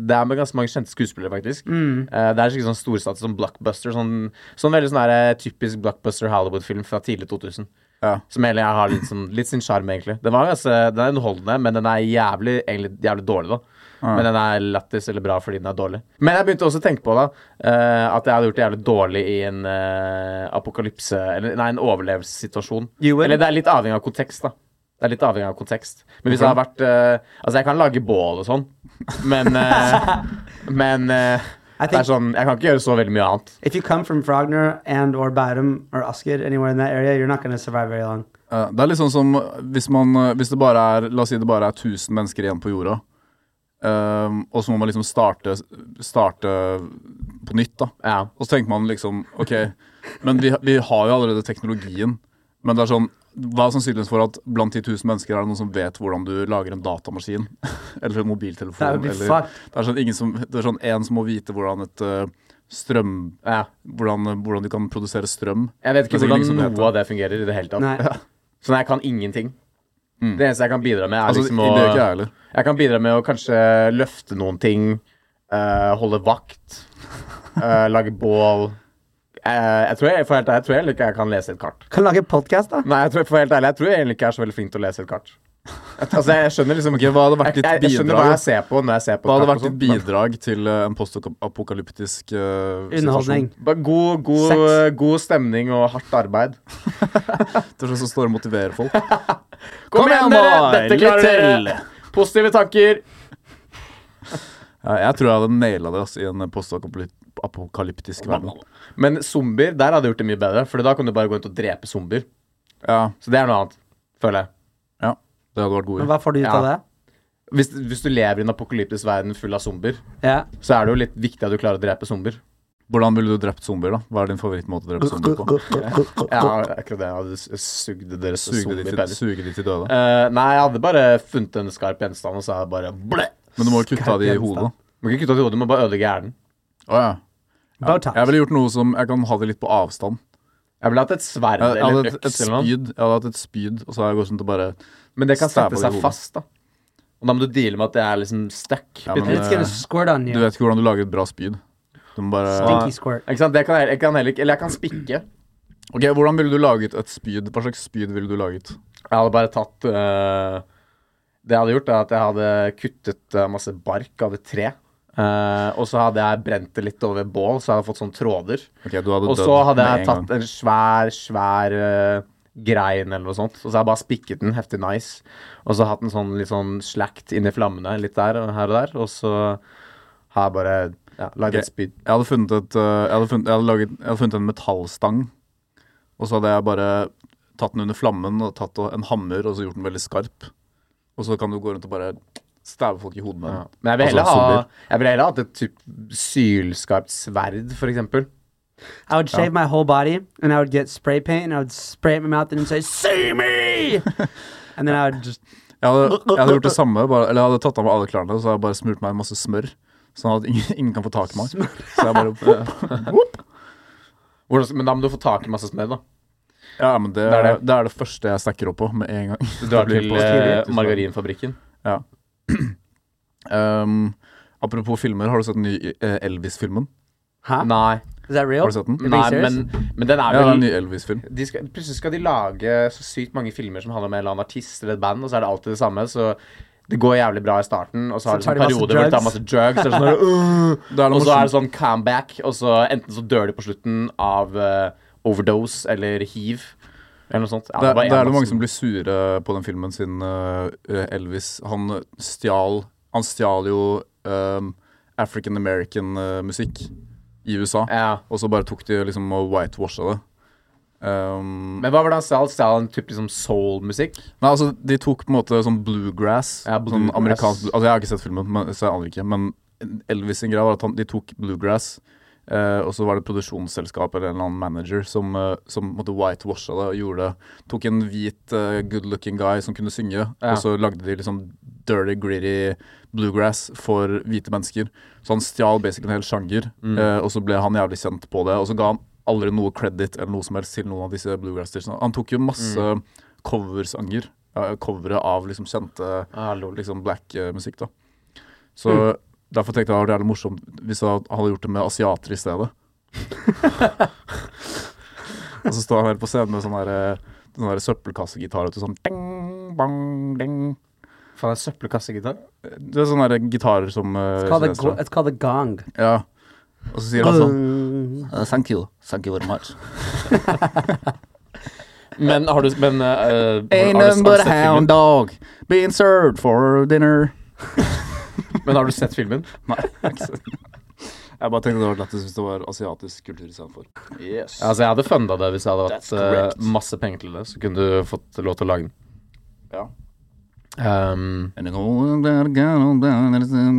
Speaker 2: men det er med ganske mange kjente skuespillere, faktisk. Eh, det er skikkelig sånn storstatus som blockbuster. Sånn, sånn veldig sånn der, eh, typisk blockbuster Hollywood-film fra tidlig 2000.
Speaker 1: Ja.
Speaker 2: Som egentlig jeg har litt, sånn, litt sin sjarm, egentlig. Den, var, ganske- den er underholdende, men den er jævlig, egentlig, jævlig dårlig, da. Men den er lættis eller bra fordi den er dårlig. Men jeg begynte også å tenke på da eh, at jeg hadde gjort det jævlig dårlig i en eh, apokalypse Eller nei, en overlevelsessituasjon.
Speaker 3: You would?
Speaker 2: Eller det er litt avhengig av kontekst, da. Det er litt avhengig av kontekst. Men hvis det har vært eh, Altså, jeg kan lage bål og sånn, men [LAUGHS] eh, Men eh,
Speaker 3: I
Speaker 2: det
Speaker 3: think
Speaker 2: er sånn Jeg kan ikke gjøre så veldig mye annet.
Speaker 3: if you come from Frogner and or Bærum or Asker, anywhere in that area, you're not going to survive very long.
Speaker 1: Eh, Det er litt sånn som hvis man eh, Hvis det bare er La oss si det bare er 1000 mennesker igjen på jorda, ehm, og så må man liksom starte Starte på nytt, da.
Speaker 2: Ja.
Speaker 1: Og så tenker man liksom OK, men vi, vi har jo allerede teknologien. Men det er sånn hva er sannsynligheten for at blant 10 000 mennesker er det noen som vet hvordan du lager en datamaskin? [LAUGHS] Eller en
Speaker 3: That would
Speaker 1: mobiltelefon?
Speaker 3: be
Speaker 1: Eller,
Speaker 3: fucked.
Speaker 1: det er sånn én som, det er sånn en som må vite hvordan et eh, strøm
Speaker 2: ja.
Speaker 1: hvordan, hvordan du kan produsere strøm.
Speaker 2: Jeg vet ikke
Speaker 1: Det er sikkert
Speaker 2: hvordan
Speaker 1: ingen som vet det.
Speaker 2: noe av det fungerer i det hele tatt.
Speaker 3: Nei.
Speaker 2: Så jeg kan ingenting. Det eneste jeg kan bidra med, er
Speaker 1: Mm. Altså,
Speaker 2: liksom
Speaker 1: det gjør ikke jeg
Speaker 2: å
Speaker 1: heller.
Speaker 2: Jeg kan bidra med å kanskje løfte noen ting, eh, holde
Speaker 1: [LAUGHS]
Speaker 2: vakt, eh, lage bål. Eh, jeg, tror jeg, for helt ærlig, jeg tror egentlig ikke jeg kan lese et kart.
Speaker 3: Kan lage podcast, da?
Speaker 2: Nei, jeg tror, for helt ærlig, jeg tror egentlig ikke jeg er så veldig flink til å lese et
Speaker 1: [LAUGHS]
Speaker 2: kart. Altså, jeg skjønner liksom ikke
Speaker 1: hva hadde vært
Speaker 2: jeg,
Speaker 1: ditt
Speaker 2: jeg, jeg
Speaker 1: bidrag,
Speaker 2: skjønner hva
Speaker 1: da?
Speaker 2: jeg ser på når jeg ser på
Speaker 1: Hva
Speaker 2: et
Speaker 1: hadde
Speaker 2: kart.
Speaker 1: vært
Speaker 2: og
Speaker 1: ditt
Speaker 2: sånt, sånn, men-
Speaker 1: bidrag til eh, en postapokalyptisk uh,
Speaker 3: Underholdning.
Speaker 2: Bare god, god,
Speaker 3: Sex.
Speaker 2: god stemning og hardt arbeid.
Speaker 1: Det er sånn som står og motiverer
Speaker 2: [LAUGHS]
Speaker 1: folk.
Speaker 2: Kom, igjen, dere! Dette klarer
Speaker 1: til!
Speaker 2: dere! Positive tanker.
Speaker 1: Ja, jeg tror jeg hadde naila det ass, i en postapokalyptisk verden.
Speaker 2: Men zombier, der hadde jeg gjort det mye bedre, for da kan du bare gå rundt og drepe zombier.
Speaker 1: Ja,
Speaker 2: Så det er noe annet, føler jeg.
Speaker 1: ja, det hadde vært god.
Speaker 3: Men hva får du ut
Speaker 2: Ja.
Speaker 3: av det?
Speaker 2: Hvis, hvis du lever i en apokalyptisk verden full av zombier,
Speaker 3: Ja.
Speaker 2: så er det jo litt viktig at du klarer å drepe zombier.
Speaker 1: Hvordan ville du drept zombier, da? Hva er din favorittmåte å drepe zombier på?
Speaker 2: Ja, akkurat det. Jeg hadde s- sugd deres
Speaker 1: Suge de til,
Speaker 2: zombiepenner.
Speaker 1: suge de til døde?
Speaker 2: Eh, nei, jeg hadde bare funnet en skarp gjenstand, og så hadde jeg bare blæ!
Speaker 1: Men du må jo kutte av de i hodet.
Speaker 2: Du må ikke kutte av det i hodet, du må bare ødelegge hjernen.
Speaker 1: Å ja.
Speaker 3: Botox.
Speaker 1: Jeg ville gjort noe som jeg kan ha det litt på avstand.
Speaker 2: Jeg ville hatt et sverd
Speaker 1: Jeg hadde
Speaker 2: eller en
Speaker 1: hatt et
Speaker 2: øks eller noe.
Speaker 1: spyd, jeg hadde hatt et spyd og så hadde jeg gått rundt og bare
Speaker 2: Men det kan
Speaker 1: stabba
Speaker 2: sette
Speaker 1: det i
Speaker 2: seg
Speaker 1: hodet.
Speaker 2: fast, da. Og da må du deale med at det er liksom stuck.
Speaker 1: Ja, men-
Speaker 2: bitte litt.
Speaker 3: It's gonna squirt on
Speaker 1: Du
Speaker 3: you.
Speaker 1: vet ikke hvordan du lager et bra spyd. Du må bare
Speaker 3: Stinky squirt.
Speaker 2: Ikke sant? Det kan jeg, jeg kan heller ikke Eller jeg kan spikke.
Speaker 1: Ok, Hvordan ville du laget et spyd? Hva slags spyd ville du laget?
Speaker 2: Jeg hadde bare tatt eh, Det jeg hadde gjort, er at jeg hadde kuttet eh, masse bark av et tre. eh, og så hadde jeg brent det litt over bål, så jeg hadde fått sånne tråder.
Speaker 1: Ok, du hadde
Speaker 2: Og
Speaker 1: dødd
Speaker 2: så hadde
Speaker 1: med
Speaker 2: jeg
Speaker 1: en gang.
Speaker 2: tatt en svær, svær eh, grein eller noe sånt. Og så har jeg bare spikket den heftig nice. Og så hatt den sånn litt sånn slakt inn i flammene, litt der og her og der. Og så har jeg bare ja,
Speaker 1: Ok.
Speaker 2: lagd et spyd.
Speaker 1: Jeg hadde funnet, et, eh, jeg hadde funnet, jeg hadde laget, jeg hadde funnet en metallstang, og så hadde jeg bare tatt den under flammen og tatt og- en hammer og så gjort den veldig skarp. Og så kan du gå rundt og bare stæve folk i hodet med den.
Speaker 2: Men jeg vil
Speaker 1: Altså,
Speaker 2: heller ha
Speaker 1: zombier.
Speaker 2: Jeg vil heller hatt et typ sylskarpt sverd, for eksempel.
Speaker 3: I would shave my whole body and I would get spray paint and I would spray it in my mouth and say, See
Speaker 1: [LAUGHS]
Speaker 3: me! and then I would just,
Speaker 1: Jeg hadde, jeg hadde gjort det samme, bare, eller jeg hadde tatt av meg alle klærne og så hadde jeg bare smurt meg en masse smør. Sånn at ingen, ingen kan få tak i meg. Så jeg bare
Speaker 2: [LAUGHS]
Speaker 1: whoop.
Speaker 2: Hvordan, men da må du få tak i masse smør, da.
Speaker 1: Ja, men det,
Speaker 2: Det
Speaker 1: det,
Speaker 2: er
Speaker 1: er det.
Speaker 2: det.
Speaker 1: første jeg stacker opp på med en gang.
Speaker 2: Du
Speaker 1: [LAUGHS]
Speaker 2: drar til eh, margarinfabrikken.
Speaker 1: Ja. [CLEARS THROAT] Um, apropos filmer, har du sett den nye eh, Elvis-filmen?
Speaker 3: Huh?
Speaker 2: Nei,
Speaker 3: Is that real?
Speaker 1: Har du sett den?
Speaker 3: being
Speaker 2: nei
Speaker 3: serious?
Speaker 2: men, men den
Speaker 1: Ja,
Speaker 2: er
Speaker 1: det er en
Speaker 2: vel
Speaker 1: ny Elvis-film.
Speaker 2: de skal, Plutselig skal de lage så sykt mange filmer som handler om en eller annen artist eller et band, og så er det alltid det samme. Så det går jævlig bra i starten, og så har
Speaker 3: Så
Speaker 2: det
Speaker 3: tar de
Speaker 2: sånn
Speaker 3: masse
Speaker 2: perioder hvor de tar
Speaker 3: drugs.
Speaker 2: masse drugs. Og,
Speaker 3: [LAUGHS]
Speaker 2: sånn, øh,
Speaker 1: Det er noe
Speaker 2: og så er
Speaker 1: morsomt.
Speaker 2: det sånn comeback, og så enten så dør de på slutten av eh, overdose eller hiv. Eller noe sånt. Ja,
Speaker 1: Det, er-
Speaker 2: var en
Speaker 1: det er
Speaker 2: av
Speaker 1: jo mange
Speaker 2: oss
Speaker 1: som blir sure på den filmen siden eh, Elvis Han stjal Han stjal jo um, African American-musikk i USA,
Speaker 2: ja.
Speaker 1: og så bare tok de liksom og whitewasha det. Um,
Speaker 2: Men hva var det han stjal? Stjal han typ liksom soul-musikk?
Speaker 1: Nei, altså, de tok på en måte sånn bluegrass.
Speaker 2: Ja,
Speaker 1: Sånn
Speaker 2: bluegrass.
Speaker 1: amerikansk blu- Altså, jeg har ikke sett filmen, men, så jeg aner ikke. Men Elvis sin greie var at han, de tok bluegrass, eh, og så var det produksjonsselskap eller en eller annen manager som, eh, som måtte whitewasha det og gjorde Tok en hvit eh, good looking guy som kunne synge,
Speaker 2: Ja.
Speaker 1: og så lagde de liksom dirty, gritty bluegrass for hvite mennesker. Så han stjal basically en hel sjanger,
Speaker 2: Mm.
Speaker 1: eh, og så ble han jævlig kjent på det. Og så ga han aldri noe credit eller noe som helst til noen av disse bluegrass-stilsene. Han tok jo masse
Speaker 2: Mm.
Speaker 1: coversanger. Ja, covere av liksom kjente
Speaker 2: Ah, lol.
Speaker 1: liksom black eh, musikk, da. Så derfor tenkte jeg at det er litt morsomt hvis jeg hadde gjort det med asiater i stedet. [LAUGHS] og så står han her på scenen med sånn der, eh, sånn der søppelkassegitar. vet du, Sånn ding, bang, ding.
Speaker 2: Faen, en søppelkassegitar?
Speaker 1: Det er sånne der gitarer som eh,
Speaker 3: It's called, the,
Speaker 1: kinesere
Speaker 3: go-
Speaker 1: har.
Speaker 3: it's called the gong.
Speaker 1: Ja. Og så sier han sånn "Uh, Thank you. Thank you very much.
Speaker 2: Men har du Men eh, har,
Speaker 1: Ain't
Speaker 2: har, du,
Speaker 1: nothing but
Speaker 2: har, du
Speaker 1: a [LAUGHS]
Speaker 2: sett
Speaker 1: hound
Speaker 2: filmen?
Speaker 1: dog being served for dinner.
Speaker 2: men har du sett filmen?
Speaker 1: Nei, [LAUGHS] ikke sant. Jeg bare tenkte det var lættis hvis det var asiatisk kultur istedenfor.
Speaker 2: Ja, Altså, jeg hadde funda det hvis jeg hadde
Speaker 1: That's
Speaker 2: hatt
Speaker 1: correct.
Speaker 2: eh, masse penger til det. Så kunne du fått lov til å lage den.
Speaker 1: Ja.
Speaker 2: Ehm,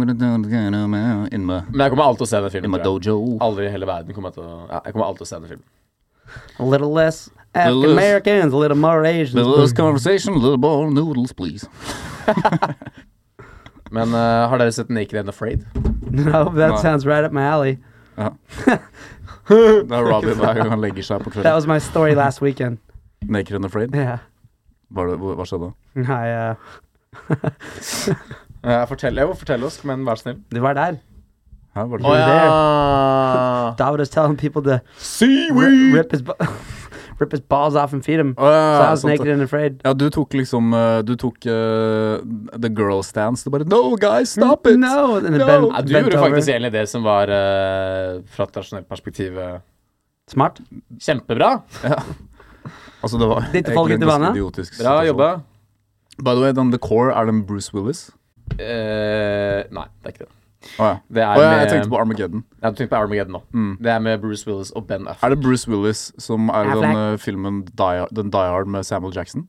Speaker 1: In my,
Speaker 2: men jeg kommer alltid til å se den
Speaker 1: in
Speaker 2: filmen.
Speaker 1: my
Speaker 2: tror jeg.
Speaker 1: dojo.
Speaker 2: Aldri i hele verden kommer jeg til å ja, Jeg kommer alltid til å se den filmen.
Speaker 3: A little less African
Speaker 1: little-
Speaker 3: Americans, a little more Asians. [LAUGHS]
Speaker 1: This conversation, little boy noodles, please.
Speaker 2: Men eh, har dere sett Naked and Afraid?
Speaker 3: No, that
Speaker 1: No.
Speaker 3: sounds right up my alley.
Speaker 1: Det er Robin hver gang han legger seg på
Speaker 3: That
Speaker 1: kvelden.
Speaker 3: was my story last weekend. [LAUGHS]
Speaker 1: Naked and afraid?
Speaker 3: Yeah.
Speaker 1: Hva, er det- hva skjedde?
Speaker 3: Nei, eh,
Speaker 2: Uh, fortell, jo, fortell oss, men vær snill.
Speaker 3: det var der.
Speaker 1: Hæ, var det
Speaker 3: Å, ja.
Speaker 2: ja.
Speaker 3: Dad was telling people to ri-
Speaker 2: Seaweed!
Speaker 3: rip his, ba- [LAUGHS] rip his balls off and feed him.
Speaker 1: Å,
Speaker 3: so
Speaker 1: ja,
Speaker 3: I was
Speaker 1: sant
Speaker 3: naked
Speaker 1: det.
Speaker 3: and afraid.
Speaker 1: Ja, du tok liksom eh, Du tok eh, the girl stance. Du bare No, guys, stop it!
Speaker 3: No! And then
Speaker 1: No.
Speaker 3: bent,
Speaker 2: Ja, du
Speaker 3: bent
Speaker 2: gjorde
Speaker 3: over.
Speaker 2: faktisk egentlig det som var eh, fra et tradisjonelt perspektiv eh,
Speaker 3: Smart.
Speaker 2: kjempebra.
Speaker 1: Altså, det var
Speaker 3: Dytte folk ut i
Speaker 1: egentlig en
Speaker 3: vannet.
Speaker 1: ganske idiotisk
Speaker 2: Bra
Speaker 1: situasjon.
Speaker 2: jobba.
Speaker 1: By the way, den The Core, er den Bruce Willis?
Speaker 2: Eh, nei, det er ikke det.
Speaker 1: Å ja.
Speaker 2: Det er
Speaker 1: Å ja, jeg
Speaker 2: med-
Speaker 1: tenkte på Armageddon.
Speaker 2: Ja, du tenker på Armageddon nå. Det er med Bruce Willis og Ben Affleck.
Speaker 1: Mm. Er det Bruce Willis som er i den
Speaker 3: Affleck.
Speaker 1: eh, filmen Die, Den Die Hard med Samuel Jackson?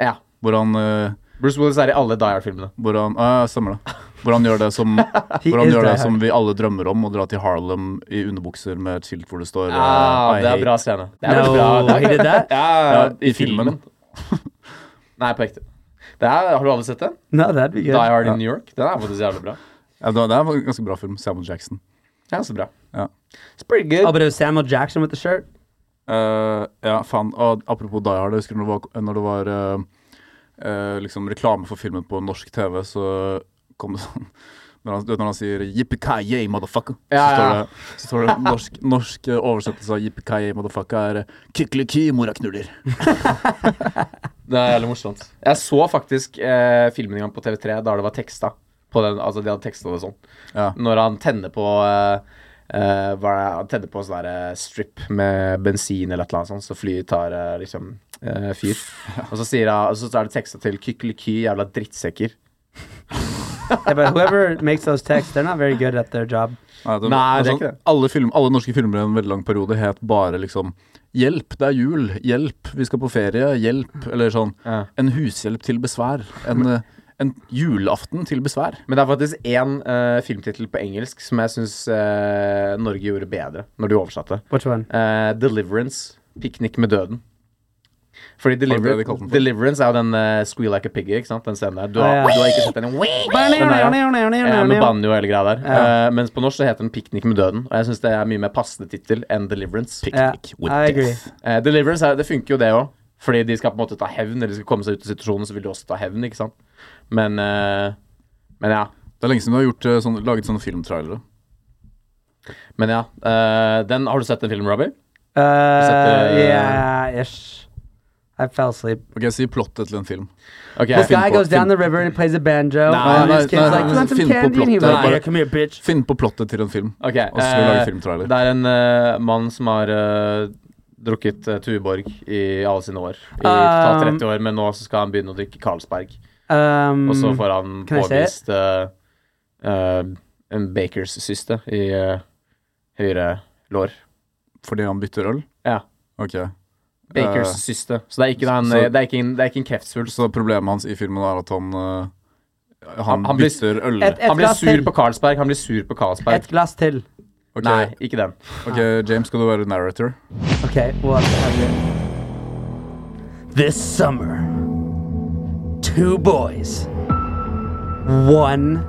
Speaker 2: Ja.
Speaker 1: Hvor han, eh,
Speaker 2: Bruce Willis er i alle Die Hard-filmene.
Speaker 1: hvor han ah, ja, Stemmer det. Hvor han gjør det som,
Speaker 2: [LAUGHS]
Speaker 3: He
Speaker 1: hvor han
Speaker 3: is
Speaker 1: gjør det
Speaker 3: die
Speaker 1: som vi alle drømmer om, å dra til Harlem i underbukser med et skilt hvor det står eh,
Speaker 2: Ah,
Speaker 1: I
Speaker 2: det er
Speaker 1: hate-
Speaker 2: bra scene. Det er
Speaker 3: No,
Speaker 2: veldig bra.
Speaker 3: he did that?
Speaker 2: [LAUGHS] Ja,
Speaker 1: Ja,
Speaker 2: I filmen. [LAUGHS] Nei, på ekte. Det er, har du aldri sett den?
Speaker 3: No, that'd be good.
Speaker 2: Die Hard in New York. Den er faktisk jævlig bra.
Speaker 1: Ja, det er en ganske bra film. Samuel Jackson.
Speaker 2: Ja, så bra.
Speaker 1: Ja.
Speaker 2: It's pretty
Speaker 3: Oh,
Speaker 2: good.
Speaker 3: but it was Samuel Jackson with the shirt?
Speaker 1: Eh, ja, faen. Og apropos Die Hard, jeg husker når det var, når det var eh, eh, liksom reklame for filmen på norsk TV, så kom det sånn når han, du vet når han sier 'Yippee-ki-yay, motherfucker',
Speaker 2: Ja,
Speaker 1: så står
Speaker 2: ja.
Speaker 1: det, så står det norsk, norsk eh, oversettelse av 'Yippee-ki-yay, motherfucker' er 'Kykeliky, moraknuller'.
Speaker 2: [LAUGHS] Det er jævlig morsomt. Jeg så faktisk eh, filmen en gang på TV3 da det var teksta. På den, altså, de hadde teksta det sånn.
Speaker 1: Ja.
Speaker 2: Når han tenner på eh, eh, hva er det, Han tenner på en sånn der, eh, strip med bensin eller et eller annet sånt, så flyet tar eh, liksom eh, [LAUGHS] fyr. Og så, sier han, og så er det teksta til Kykkeliky, jævla drittsekker.
Speaker 3: Yeah, but whoever [LAUGHS] makes those texts, they're not very good at their job.
Speaker 1: Nei, det,
Speaker 2: Nei, det er
Speaker 1: altså,
Speaker 2: ikke det.
Speaker 1: Alle, film, alle norske filmer i en veldig lang periode het bare liksom 'Hjelp, det er jul'. 'Hjelp, vi skal på ferie'. 'Hjelp'. Eller sånn.
Speaker 2: Ja.
Speaker 1: En hushjelp til besvær. En, eh, en julaften til besvær.
Speaker 2: Men det er faktisk én uh, filmtittel på engelsk som jeg syns eh, Norge gjorde bedre når de oversatte.
Speaker 3: Which one?
Speaker 2: Eh, 'Deliverance'. 'Piknik med døden'. Fordi Deliver
Speaker 1: det de kalte den for?
Speaker 2: Deliverance er jo den eh, Squeal Like a Piggy, ikke sant? Den scenen der. Du har,
Speaker 3: Ja, ja.
Speaker 2: du har ikke sett den? Den er
Speaker 3: [LAUGHS]
Speaker 2: jo- ja, med banjo og hele greia der. Eh, mens på norsk så heter den Piknik med døden. Og jeg syns det er mye mer passende tittel enn Deliverance.
Speaker 3: Yeah,
Speaker 9: with
Speaker 3: I agree.
Speaker 9: death.
Speaker 2: Eh, Deliverance er, det funker jo det òg, fordi de skal på en måte ta hevn. Eller de skal komme seg ut av situasjonen, så vil de også ta hevn, ikke sant. Men, eh, men ja.
Speaker 1: Det er lenge siden du har gjort, eh, sånn, laget sånne filmtrailere.
Speaker 2: Men ja. eh, den, har du sett den filmen, Robbie?
Speaker 3: Uh,
Speaker 2: Except, uh,
Speaker 3: yeah, ish. I fell asleep.
Speaker 1: Ok, Si plottet til en film.
Speaker 2: Ok,
Speaker 3: This
Speaker 1: film
Speaker 3: guy
Speaker 1: på-
Speaker 3: goes down
Speaker 1: film-
Speaker 3: the river and he plays a banjo.
Speaker 2: Nah,
Speaker 3: and
Speaker 2: nah,
Speaker 3: this kid's
Speaker 1: nah,
Speaker 3: like,
Speaker 1: nah,
Speaker 3: you want some
Speaker 1: film på
Speaker 3: candy? And he was
Speaker 1: plott,
Speaker 3: like,
Speaker 1: bare-
Speaker 3: yeah, come here, bitch.
Speaker 1: Finn på plottet til en film.
Speaker 2: Ok,
Speaker 1: Og så skal vi
Speaker 2: eh,
Speaker 1: lage filmtrailer.
Speaker 2: Det er en eh, mann som har eh, drukket eh, Tuborg i alle sine år. I totalt
Speaker 3: Um,
Speaker 2: 30 år, men nå så skal han begynne å drikke Carlsberg.
Speaker 3: Um,
Speaker 2: Og så får han
Speaker 3: Kan jeg se?
Speaker 2: påvist eh, eh, en Bakers-syste i eh, høyre lår.
Speaker 1: Fordi han bytter øl?
Speaker 2: Ja.
Speaker 1: Ok.
Speaker 3: Ah.
Speaker 2: Bakers-syste. Så det er ikke en,
Speaker 1: så-
Speaker 2: det er ikke en, det er ikke en kreftsvulst.
Speaker 1: Eh, Så problemet hans i filmen er at han eh, han,
Speaker 2: Han- han blir-
Speaker 1: bytter øl.
Speaker 3: Et- et
Speaker 2: Han blir
Speaker 3: glass
Speaker 2: sur
Speaker 3: til.
Speaker 2: på Carlsberg. Han blir sur på Carlsberg.
Speaker 3: Et glass til.
Speaker 1: Ok,
Speaker 2: Nei, ikke den.
Speaker 1: ok, James, skal du være narrator?
Speaker 3: Okay, we'll have to have it. This summer, two boys, one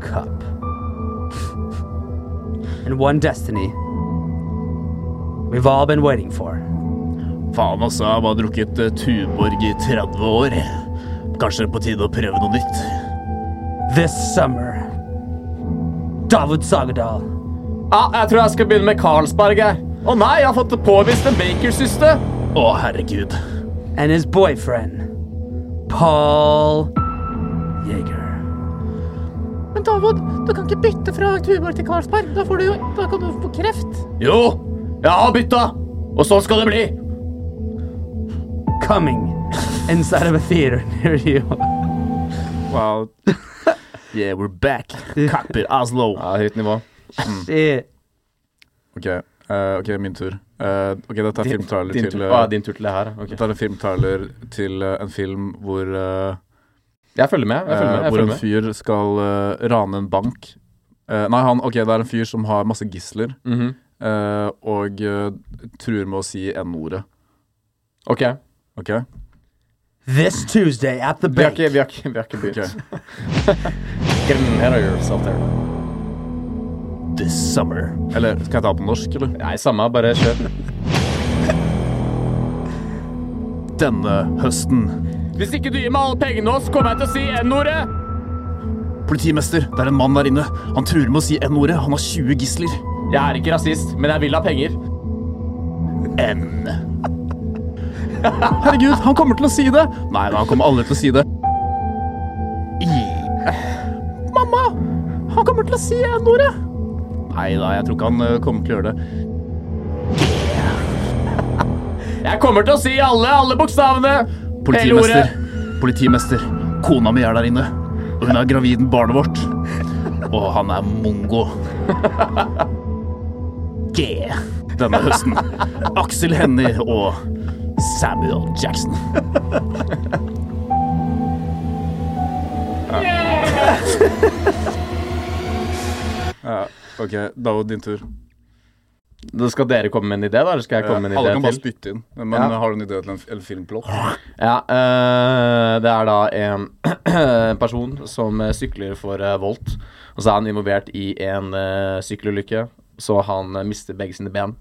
Speaker 3: cup, and one destiny we've all been waiting for.
Speaker 9: Faen, altså. Jeg har bare drukket eh, Tuborg i 30 år. Kanskje det er på tide å prøve noe nytt.
Speaker 3: This summer, Davud Sagadal,
Speaker 2: Ah, jeg tror jeg skal begynne med Carlsberg. jeg. Å nei, jeg har fått påvist en Bakers-syste!
Speaker 9: Å, herregud.
Speaker 3: and his boyfriend, Paul Jaeger.
Speaker 10: Men Davod, du kan ikke bytte fra Tuborg til Carlsberg. Da, får du jo, da kan du få kreft.
Speaker 2: Jo, jeg har bytta! Og sånn skal det bli!
Speaker 3: Coming inside of a theater [LAUGHS] near you.
Speaker 2: [LAUGHS]
Speaker 1: Wow.
Speaker 9: Yeah, we're back. Kapper Oslo.
Speaker 2: Ja, høyt nivå.
Speaker 3: Shit.
Speaker 1: Ok, eh, ok, min tur. Eh, ok, Dette er filmtrailer
Speaker 2: Din
Speaker 1: til
Speaker 2: tur,
Speaker 1: eh,
Speaker 2: ah, din tur til det her. ok.
Speaker 1: Dette er en filmtrailer til eh, en film hvor, eh,
Speaker 2: Jeg følger med. jeg følger med,
Speaker 1: eh,
Speaker 2: jeg
Speaker 1: hvor
Speaker 2: følger
Speaker 1: en
Speaker 2: med.
Speaker 1: fyr skal eh, rane en bank. Eh, nei, han, ok, det er en fyr som har masse gisler
Speaker 2: Mhm.
Speaker 1: eh, og eh, truer med å si N-ordet.
Speaker 2: Ok,
Speaker 1: Ok?
Speaker 3: This Tuesday at the
Speaker 2: Vi har
Speaker 3: bank.
Speaker 2: ikke, vi har ikke, vi har ikke
Speaker 1: Ok.
Speaker 2: begynt. [LAUGHS] Get ahead of yourself there.
Speaker 9: This summer.
Speaker 1: Eller skal jeg ta på norsk, eller?
Speaker 2: Nei, samme, bare kjør.
Speaker 9: Denne høsten.
Speaker 2: Hvis ikke du gir meg alle pengene nå, så kommer jeg til å si N-ordet!
Speaker 9: Politimester, det er en mann der inne. Han truer med å si N-ordet. Han har 20 gisler.
Speaker 2: Jeg er ikke rasist, men jeg vil ha penger.
Speaker 9: N. Herregud, han kommer til å si det! Nei, han kommer aldri til å si det. I. Mamma! Han kommer til å si N-ordet! Nei da, jeg tror ikke han eh, kommer til å gjøre det.
Speaker 2: Jeg kommer til å si alle, alle bokstavene!
Speaker 9: Politimester. Politimester. Kona mi er der inne. Og hun er gravid med barnet vårt. Og han er mongo. G. Denne høsten. Aksel Hennie og Samuel Jackson.
Speaker 1: Ok, da var din tur.
Speaker 2: Da skal dere komme med en idé, da? Eller skal jeg komme med en
Speaker 1: Eh, Alle kan
Speaker 2: idé
Speaker 1: bare
Speaker 2: til?
Speaker 1: spytte inn. Men
Speaker 2: Ja.
Speaker 1: har du en idé til en, f- en filmplott?
Speaker 2: Ja, eh, det er da en [CLEARS THROAT] person som eh, sykler for eh, Volt. Og så er han involvert i en eh, sykkelulykke, så han eh, mister begge sine ben.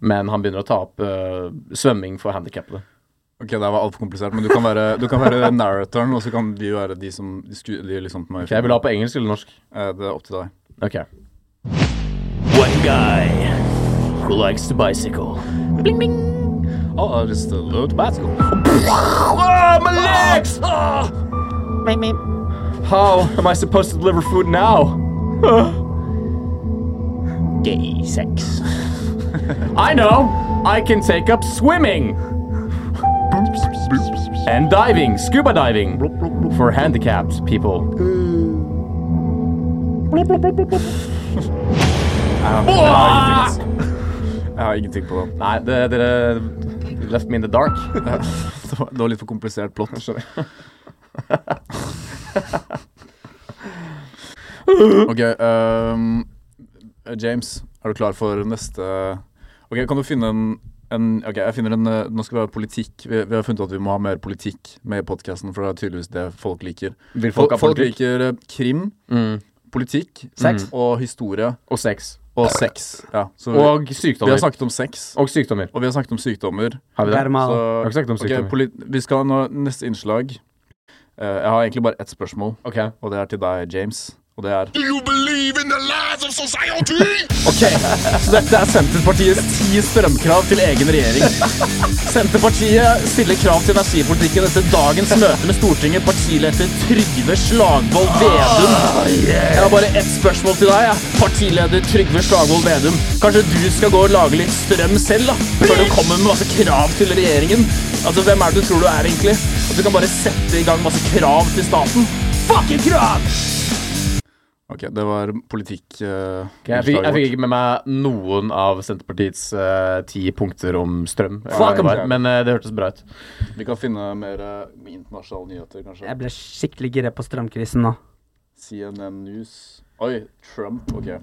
Speaker 2: Men han begynner å ta opp eh, svømming for handikappede.
Speaker 1: Ok, det var altfor komplisert, men du kan være, du kan være narratoren, og så kan vi være de som de sku, de liksom på meg.
Speaker 2: Ok, jeg vil ha på engelsk eller norsk.
Speaker 1: Eh, Det er opp til deg.
Speaker 2: Ok.
Speaker 9: One guy who likes to bicycle. Bling, bling. Oh, just a little bicycle.
Speaker 2: Oh, my legs!
Speaker 9: Ah.
Speaker 10: Mim, mim.
Speaker 2: How am I supposed to deliver food now?
Speaker 9: [SIGHS] Gay sex.
Speaker 2: [LAUGHS] I know! I can take up
Speaker 9: [LAUGHS]
Speaker 2: swimming! And diving, scuba diving, for handicapped people.
Speaker 1: Jeg har ingenting på den.
Speaker 2: Nei, det, dere left me in the dark.
Speaker 1: Det var, det var litt for komplisert plott. [LAUGHS] Ok, ehm, James, er du klar for neste Ok, kan du finne en, en Ok, jeg finner en eh, Nå skal vi ha politikk. Vi, vi har funnet at vi må ha mer politikk med i podkasten, for det er tydeligvis det folk liker.
Speaker 2: Vil folk ha
Speaker 1: folk
Speaker 2: politikk? Mm.
Speaker 1: liker eh, krim, politikk
Speaker 2: Sex.
Speaker 1: mm, og historie
Speaker 2: Og sex.
Speaker 1: og sex. Ja, så vi,
Speaker 2: Og
Speaker 1: vi
Speaker 2: sykdommer.
Speaker 1: har snakket om sex,
Speaker 2: og sykdommer.
Speaker 1: og vi har snakket om sykdommer.
Speaker 2: Har vi det?
Speaker 3: Karma.
Speaker 1: Så
Speaker 2: har ikke snakket om
Speaker 1: ok,
Speaker 2: sykdommer.
Speaker 1: poli- vi skal nå neste innslag. Eh, jeg har egentlig bare ett spørsmål,
Speaker 2: Ok.
Speaker 1: og det er til deg, James. Og det er
Speaker 9: Dette er Senterpartiets ti strømkrav til egen
Speaker 1: [LAUGHS]
Speaker 9: regjering. Senterpartiet stiller krav til energipolitikken etter dagens møte med Stortinget, partileder Trygve Slagvold Vedum. Jeg har bare ett spørsmål til deg, ja. partileder Trygve Slagvold Vedum. Kanskje du skal gå og lage litt strøm selv, da? Før du kommer med masse krav til regjeringen? Altså, Hvem er det du tror du er, egentlig? At du kan bare sette i gang masse krav til staten? Fucking krav!
Speaker 1: Ok, det var politikk eh,
Speaker 2: Jeg fikk, jeg
Speaker 1: innslaget
Speaker 2: fikk
Speaker 1: vårt.
Speaker 2: ikke med meg noen av Senterpartiets eh, ti punkter om strøm. eller hva
Speaker 9: Fuck
Speaker 2: det var,
Speaker 1: em.
Speaker 2: Men eh, det hørtes bra ut.
Speaker 1: Vi kan finne mer eh, internasjonale nyheter, kanskje.
Speaker 3: Jeg ble skikkelig gira på strømkrisen nå.
Speaker 1: CNN News. Oi, Trump. Ok.
Speaker 3: I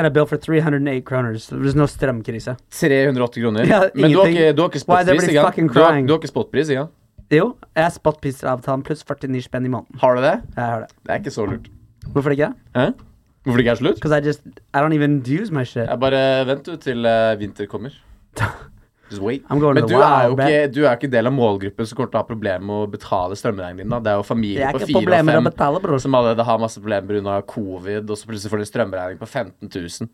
Speaker 3: got a bill for 308 kroners. There's no strømkrise.
Speaker 2: 380 kroner.
Speaker 3: Ja,
Speaker 2: men du
Speaker 3: ingenting.
Speaker 2: har ikke, du har ikke
Speaker 3: Why is
Speaker 2: spotpris,
Speaker 3: everybody
Speaker 2: ikke sant?
Speaker 3: fucking
Speaker 2: Du har,
Speaker 3: crying?
Speaker 2: du har ikke spotpris, ikke sant?
Speaker 3: Jo, jeg har spotprisavtalen pluss 49 spenn i måneden.
Speaker 2: Har du det?
Speaker 3: Jeg har det.
Speaker 2: Det er ikke så lurt.
Speaker 3: Hvorfor ikke?
Speaker 2: Hæ? Hvorfor det ikke er slutt?
Speaker 3: Because I just I don't even use my shit.
Speaker 2: Jeg bare vent du til eh, vinter kommer. Just wait.
Speaker 3: I'm going
Speaker 2: Men
Speaker 3: to
Speaker 2: du
Speaker 3: the
Speaker 2: er, jo
Speaker 3: wild, man.
Speaker 2: ikke, du er jo ikke del av målgruppen som kommer til å ha problemer med å betale strømregningen din. Da. Det er jo
Speaker 3: Det
Speaker 2: familier
Speaker 3: er
Speaker 2: på
Speaker 3: ikke
Speaker 2: fire
Speaker 3: problemer å
Speaker 2: og fem
Speaker 3: betale, bror.
Speaker 2: som allerede har masse problemer unna covid, og så plutselig får de strømregning på 15 000.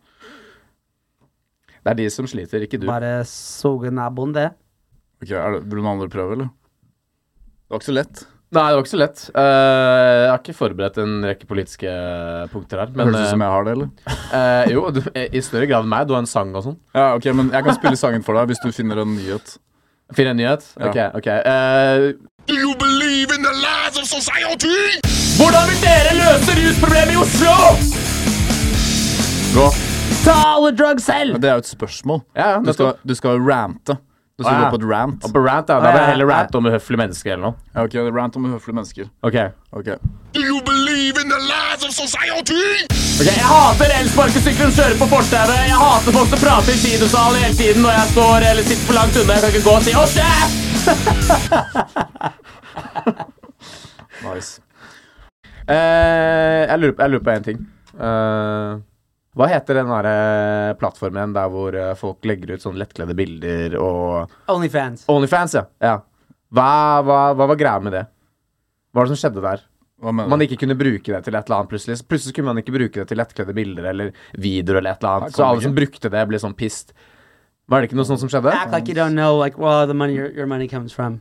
Speaker 2: Det er de som sliter, ikke du.
Speaker 3: [LAUGHS] Bare suge naboen, det.
Speaker 1: Ok, er det, Vil noen andre prøve, eller? Det var ikke så lett.
Speaker 2: Nei, det var ikke så lett. Eh, jeg har ikke forberedt en rekke politiske punkter her. Men
Speaker 1: Høres ut som jeg har det, eller?
Speaker 2: eh, eh, jo, du, i større grad enn meg. Du har en sang og sånn.
Speaker 1: Ja, ok, men Jeg kan spille sangen for deg hvis du finner en nyhet.
Speaker 2: Finn en nyhet?
Speaker 1: Ja.
Speaker 2: Ok, ok. Eh,
Speaker 9: Hvordan vil dere løse rusproblemet i Oslo?
Speaker 1: Gå.
Speaker 3: Ta alle drugs selv!
Speaker 1: Men det er jo et spørsmål.
Speaker 2: ja, ja,
Speaker 1: Du skal,
Speaker 2: nettopp.
Speaker 1: du skal rante. Du skal
Speaker 2: Å, ja.
Speaker 1: gå på et rant.
Speaker 2: På rant, da. Da vil
Speaker 3: Ja, ja,
Speaker 2: jeg heller
Speaker 3: ja.
Speaker 2: rante om uhøflige mennesker eller noe.
Speaker 1: Ja, ok, Rant om uhøflige mennesker.
Speaker 2: Ok.
Speaker 1: Ok.
Speaker 9: Ok, Jeg hater elsparkesykkelen som kjører på fortauet. Jeg hater folk som prater i sidosalen hele tiden når jeg står eller sitter for langt unna. Jeg kan ikke gå og si 'Å, sjef!'
Speaker 2: [LAUGHS]
Speaker 1: Nice.
Speaker 2: Eh, jeg, lurer på, jeg lurer på en ting. Eh, hva heter den derre plattformen igjen der hvor eh, folk legger ut sånn lettkledde bilder og
Speaker 3: Onlyfans.
Speaker 2: Onlyfans, ja. ja. Hva, hva, hva var greia med det? Hva var det som skjedde der?
Speaker 1: Hva
Speaker 2: Man
Speaker 1: mener du?
Speaker 2: ikke kunne bruke det til et eller annet plutselig. Så plutselig kunne man ikke bruke det til lettkledde bilder eller videoer eller et eller
Speaker 1: Her
Speaker 2: annet.
Speaker 1: kom
Speaker 2: Så alle
Speaker 1: det
Speaker 2: som brukte det, ble sånn pissed. Var det ikke noe sånt som skjedde?
Speaker 3: Act like you don't know like where the money your, your money comes from.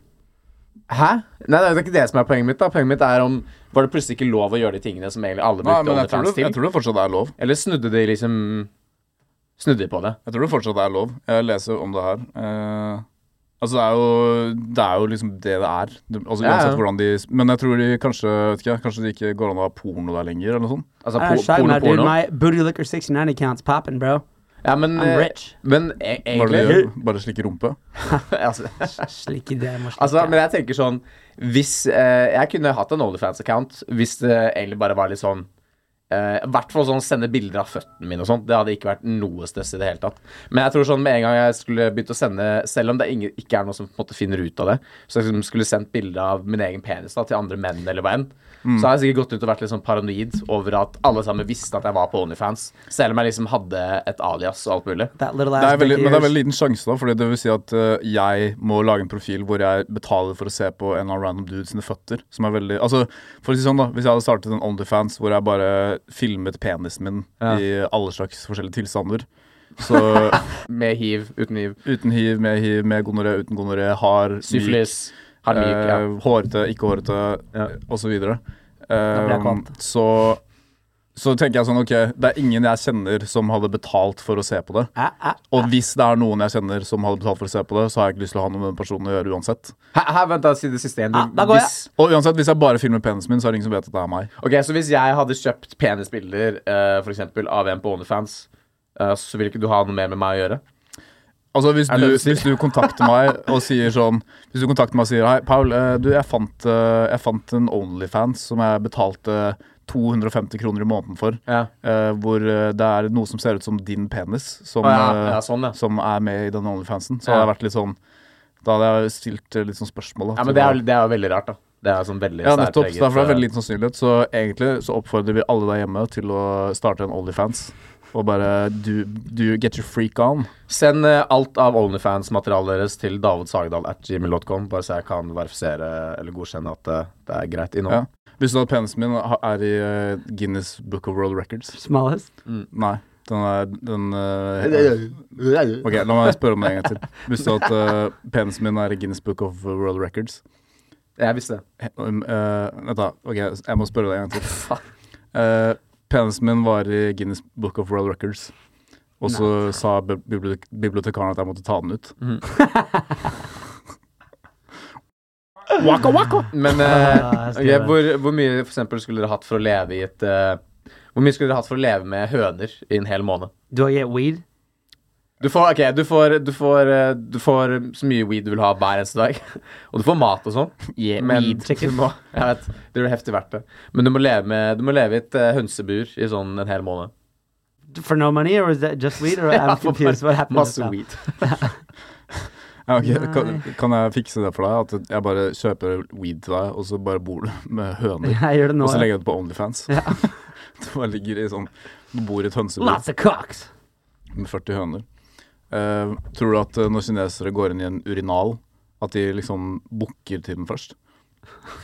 Speaker 2: Hæ? Nei, det er ikke det som er poenget mitt. da Poenget mitt er om Var det plutselig ikke lov å gjøre de tingene som egentlig alle
Speaker 1: Nei,
Speaker 2: brukte
Speaker 1: men jeg tror,
Speaker 2: OnlyFans
Speaker 1: det,
Speaker 2: til?
Speaker 1: jeg tror det fortsatt er lov.
Speaker 2: Eller snudde de liksom Snudde de på det?
Speaker 1: Jeg tror det fortsatt er lov. Jeg leser om det her. Eh, altså, det er, jo, det er jo liksom det det er. Det, altså,
Speaker 2: Ja, ja.
Speaker 1: uansett hvordan de Men jeg tror de kanskje vet ikke, jeg, Kanskje det ikke går an å ha porno der lenger, eller noe sånt.
Speaker 2: Altså
Speaker 3: I don't
Speaker 2: po
Speaker 3: shot
Speaker 2: porno,
Speaker 3: my dude.
Speaker 2: porno?
Speaker 3: My booty liquor 69 account's popping, bro.
Speaker 2: Ja, men,
Speaker 3: I'm
Speaker 2: eh,
Speaker 3: rich.
Speaker 2: men e
Speaker 1: Hva er det de
Speaker 2: egentlig
Speaker 1: gjør? Bare slikke rumpe?
Speaker 2: [LAUGHS] altså,
Speaker 3: Slik i det, må slik i
Speaker 2: altså, Men
Speaker 3: det.
Speaker 2: jeg tenker sånn Hvis eh, Jeg kunne hatt en OnlyFans-account hvis det egentlig bare var litt sånn eh, I hvert fall sånn sende bilder av føttene mine og sånt. Det hadde ikke vært noe stress i det hele tatt. Men jeg tror sånn med en gang jeg skulle begynt å sende Selv om det ingen, ikke er noe som på en måte finner ut av det, så jeg liksom skulle sendt bilde av min egen penis da til andre menn eller hva enn,
Speaker 1: Mm.
Speaker 2: så har jeg sikkert gått ut og vært litt sånn paranoid over at alle sammen visste at jeg var på OnlyFans. Selv om jeg liksom hadde et alias og alt mulig.
Speaker 3: That little
Speaker 1: Det
Speaker 3: ass
Speaker 1: er veldig,
Speaker 3: dick
Speaker 1: men det er
Speaker 3: ears.
Speaker 1: veldig liten sjanse, da. Fordi det vil si at eh, jeg må lage en profil hvor jeg betaler for å se på en eller annen random dude sine føtter. Som er veldig Altså, for å si sånn, da. Hvis jeg hadde startet en OnlyFans hvor jeg bare filmet penisen min i alle slags forskjellige tilstander, så
Speaker 2: Med hiv, uten hiv.
Speaker 1: Uten hiv, med hiv, med gonoré, uten gonoré, har
Speaker 2: Syfilis. Har myk, ja.
Speaker 1: eh, hårete, ikke hårete, eh,
Speaker 2: Ja.
Speaker 1: osv.
Speaker 3: blir jeg
Speaker 1: Eh,
Speaker 3: kvant.
Speaker 1: så så tenker jeg sånn, ok, det er ingen jeg kjenner som hadde betalt for å se på det.
Speaker 3: Ah, ah.
Speaker 1: Og hvis det er noen jeg kjenner som hadde betalt for å se på det, så har jeg ikke lyst til å ha noe med den personen å gjøre uansett.
Speaker 2: Hæ, hæ, vent, da, si det siste igjen. Du-
Speaker 3: Ah, da går jeg.
Speaker 2: hvis,
Speaker 1: Og uansett, hvis jeg bare filmer penisen min, så er det ingen som vet at det er meg.
Speaker 2: Ok, Så hvis jeg hadde kjøpt eh, penisbilder uh, for eksempel, av en på OnlyFans, eh, så ville ikke du ha noe mer med meg å gjøre?
Speaker 1: Altså hvis
Speaker 2: det
Speaker 1: du,
Speaker 2: det du sier?
Speaker 1: hvis du kontakter meg og sier sånn Hvis du kontakter meg og sier Hei, Paul, eh, du, jeg fant, eh, jeg fant en Onlyfans som jeg betalte 250 kroner i måneden for.
Speaker 2: Ja.
Speaker 1: eh, hvor eh, det er noe som ser ut som din penis, som,
Speaker 2: Å, ja.
Speaker 1: eh,
Speaker 2: Ja, sånn, ja.
Speaker 1: som er med i den Onlyfansen. Så
Speaker 2: Ja.
Speaker 1: hadde jeg vært litt sånn Da hadde jeg stilt eh, litt sånn spørsmål. da,
Speaker 2: Ja,
Speaker 1: til
Speaker 2: men det
Speaker 1: hva-
Speaker 2: er, det er jo veldig rart, da. Det er jo sånn veldig
Speaker 1: ja, nettopp.
Speaker 2: særpreget,
Speaker 1: Så derfor er det veldig
Speaker 2: eh,
Speaker 1: liten sannsynlighet. Så egentlig så oppfordrer vi alle der hjemme til å starte en Onlyfans. Og bare do, do get your freak on.
Speaker 2: Send eh, alt av Onlyfans-materialet deres til davidsagedal.gmil.com, bare så jeg kan verifisere eller godkjenne at det, det er greit innhold.
Speaker 1: Ja. Visste du at penisen min ha- er i eh, Guinness Book of World Records?
Speaker 3: Smallest.
Speaker 1: Nei. Den er den eh, Ok, la meg spørre om det en gang til. Visste du at eh, penisen min er i Guinness Book of World Records?
Speaker 2: Jeg visste det.
Speaker 1: He- um, eh, Vent, da. Ok, jeg må spørre deg en gang
Speaker 3: [LAUGHS]
Speaker 1: til. Eh, penisen min var i Guinness Book of World Records. Og så sa bi- bibliotek bibliotekaren at jeg måtte ta den ut.
Speaker 3: Mm.
Speaker 2: Waka waka! Men eh,
Speaker 3: Ah, jeg skal
Speaker 2: ok,
Speaker 3: gjøre det.
Speaker 2: hvor, hvor mye for eksempel, skulle dere hatt for å leve i et eh, Hvor mye skulle dere hatt for å leve med høner i en hel måned?
Speaker 3: Do I get weed?
Speaker 2: Du får, ok, du får, du får, eh, du får så mye weed du vil ha hver eneste dag. [LAUGHS] Og du får mat og sånn.
Speaker 3: Mm,
Speaker 2: men
Speaker 3: [LAUGHS]
Speaker 2: du må, jeg vet, det blir heftig verdt det. Men du må leve, med, du må leve i et eh, hønsebur i sånn en hel måned.
Speaker 3: For no money, or is that just weed? Or [LAUGHS] I'm
Speaker 2: for
Speaker 3: confused. What happened? just
Speaker 2: Masse
Speaker 3: [LAUGHS] now?
Speaker 2: weed. [LAUGHS]
Speaker 1: Ja, ok, kan,
Speaker 3: Nei.
Speaker 1: kan jeg fikse det for deg? At jeg bare kjøper weed til deg, og så bare bor du [LAUGHS] med høner?
Speaker 3: Jeg gjør det nå.
Speaker 1: Og så
Speaker 3: ja.
Speaker 1: legger jeg ut på Onlyfans.
Speaker 3: Ja.
Speaker 1: [LAUGHS] du bare ligger i sånn Du bor i et hønsebur
Speaker 3: Lots of cocks.
Speaker 1: med 40 høner. Eh, tror du at eh, når kinesere går inn i en urinal, at de liksom bukker til den først?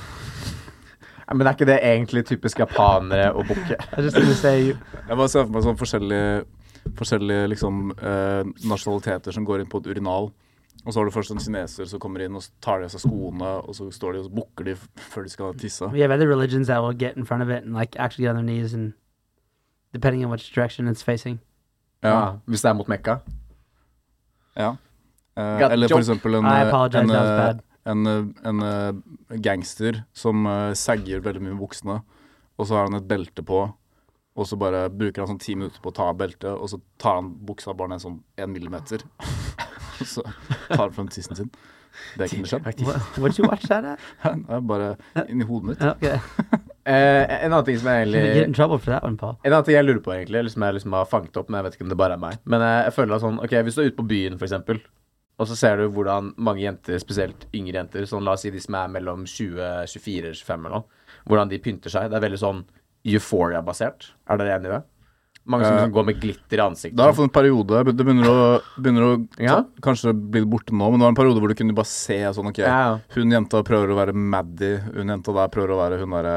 Speaker 2: Ja, Men er ikke det egentlig typisk japanere å bukke?
Speaker 3: I was just gonna say, you-
Speaker 1: Jeg bare ser for meg sånn forskjellige Forskjellige liksom eh, nasjonaliteter som går inn på et urinal. Og så har du først en kineser som kommer inn og så tar de av seg skoene, og så står de og så bukker de f- før de skal tisse.
Speaker 3: we have other religions that will get in front of it and like actually get on their knees and depending on which direction it's facing. [LAUGHS]
Speaker 1: Ja,
Speaker 2: Ja, hvis det er mot Mekka?
Speaker 1: ja. Eh,
Speaker 2: Got
Speaker 1: eller
Speaker 2: joke.
Speaker 1: for eksempel en,
Speaker 3: I
Speaker 1: eh,
Speaker 3: apologize,
Speaker 1: en,
Speaker 3: that was
Speaker 1: eh,
Speaker 3: bad.
Speaker 1: en, eh, en eh, gangster som eh, sagger veldig mye med buksene, og så har han et belte på, og så bare bruker han sånn ti minutter på å ta av beltet, og så tar han buksa bare ned sånn en millimeter. [LAUGHS] Og så tar han frem tissen sin. Det kunne skjedd.
Speaker 3: What, what'd you watch that [LAUGHS] at?
Speaker 1: [LAUGHS] Det er bare inni hodet mitt.
Speaker 3: Okay. [LAUGHS]
Speaker 2: Eh, en annen ting som jeg
Speaker 3: You get in
Speaker 2: egentlig
Speaker 3: trouble for that one, Paul.
Speaker 2: en annen ting jeg lurer på, egentlig, eller som jeg liksom har fanget opp, men jeg vet ikke om det bare er meg. Men eh, jeg føler at sånn, ok, Hvis du er ute på byen, for eksempel, og så ser du hvordan mange jenter, spesielt yngre jenter, sånn la oss si de som er mellom 20, 24, 25 eller noe, hvordan de pynter seg. Det er veldig sånn euphoria-basert. Er dere enig i det? Mange som
Speaker 1: Eh,
Speaker 2: liksom går med glitter i ansiktet.
Speaker 1: Det har fått en periode Det begynner å, begynner å
Speaker 2: Ja.
Speaker 1: ta, Kanskje bli borte nå, men det var en periode hvor du kunne bare se sånn OK,
Speaker 2: Ja, ja.
Speaker 1: hun jenta prøver å være Maddy, hun jenta der prøver å være hun derre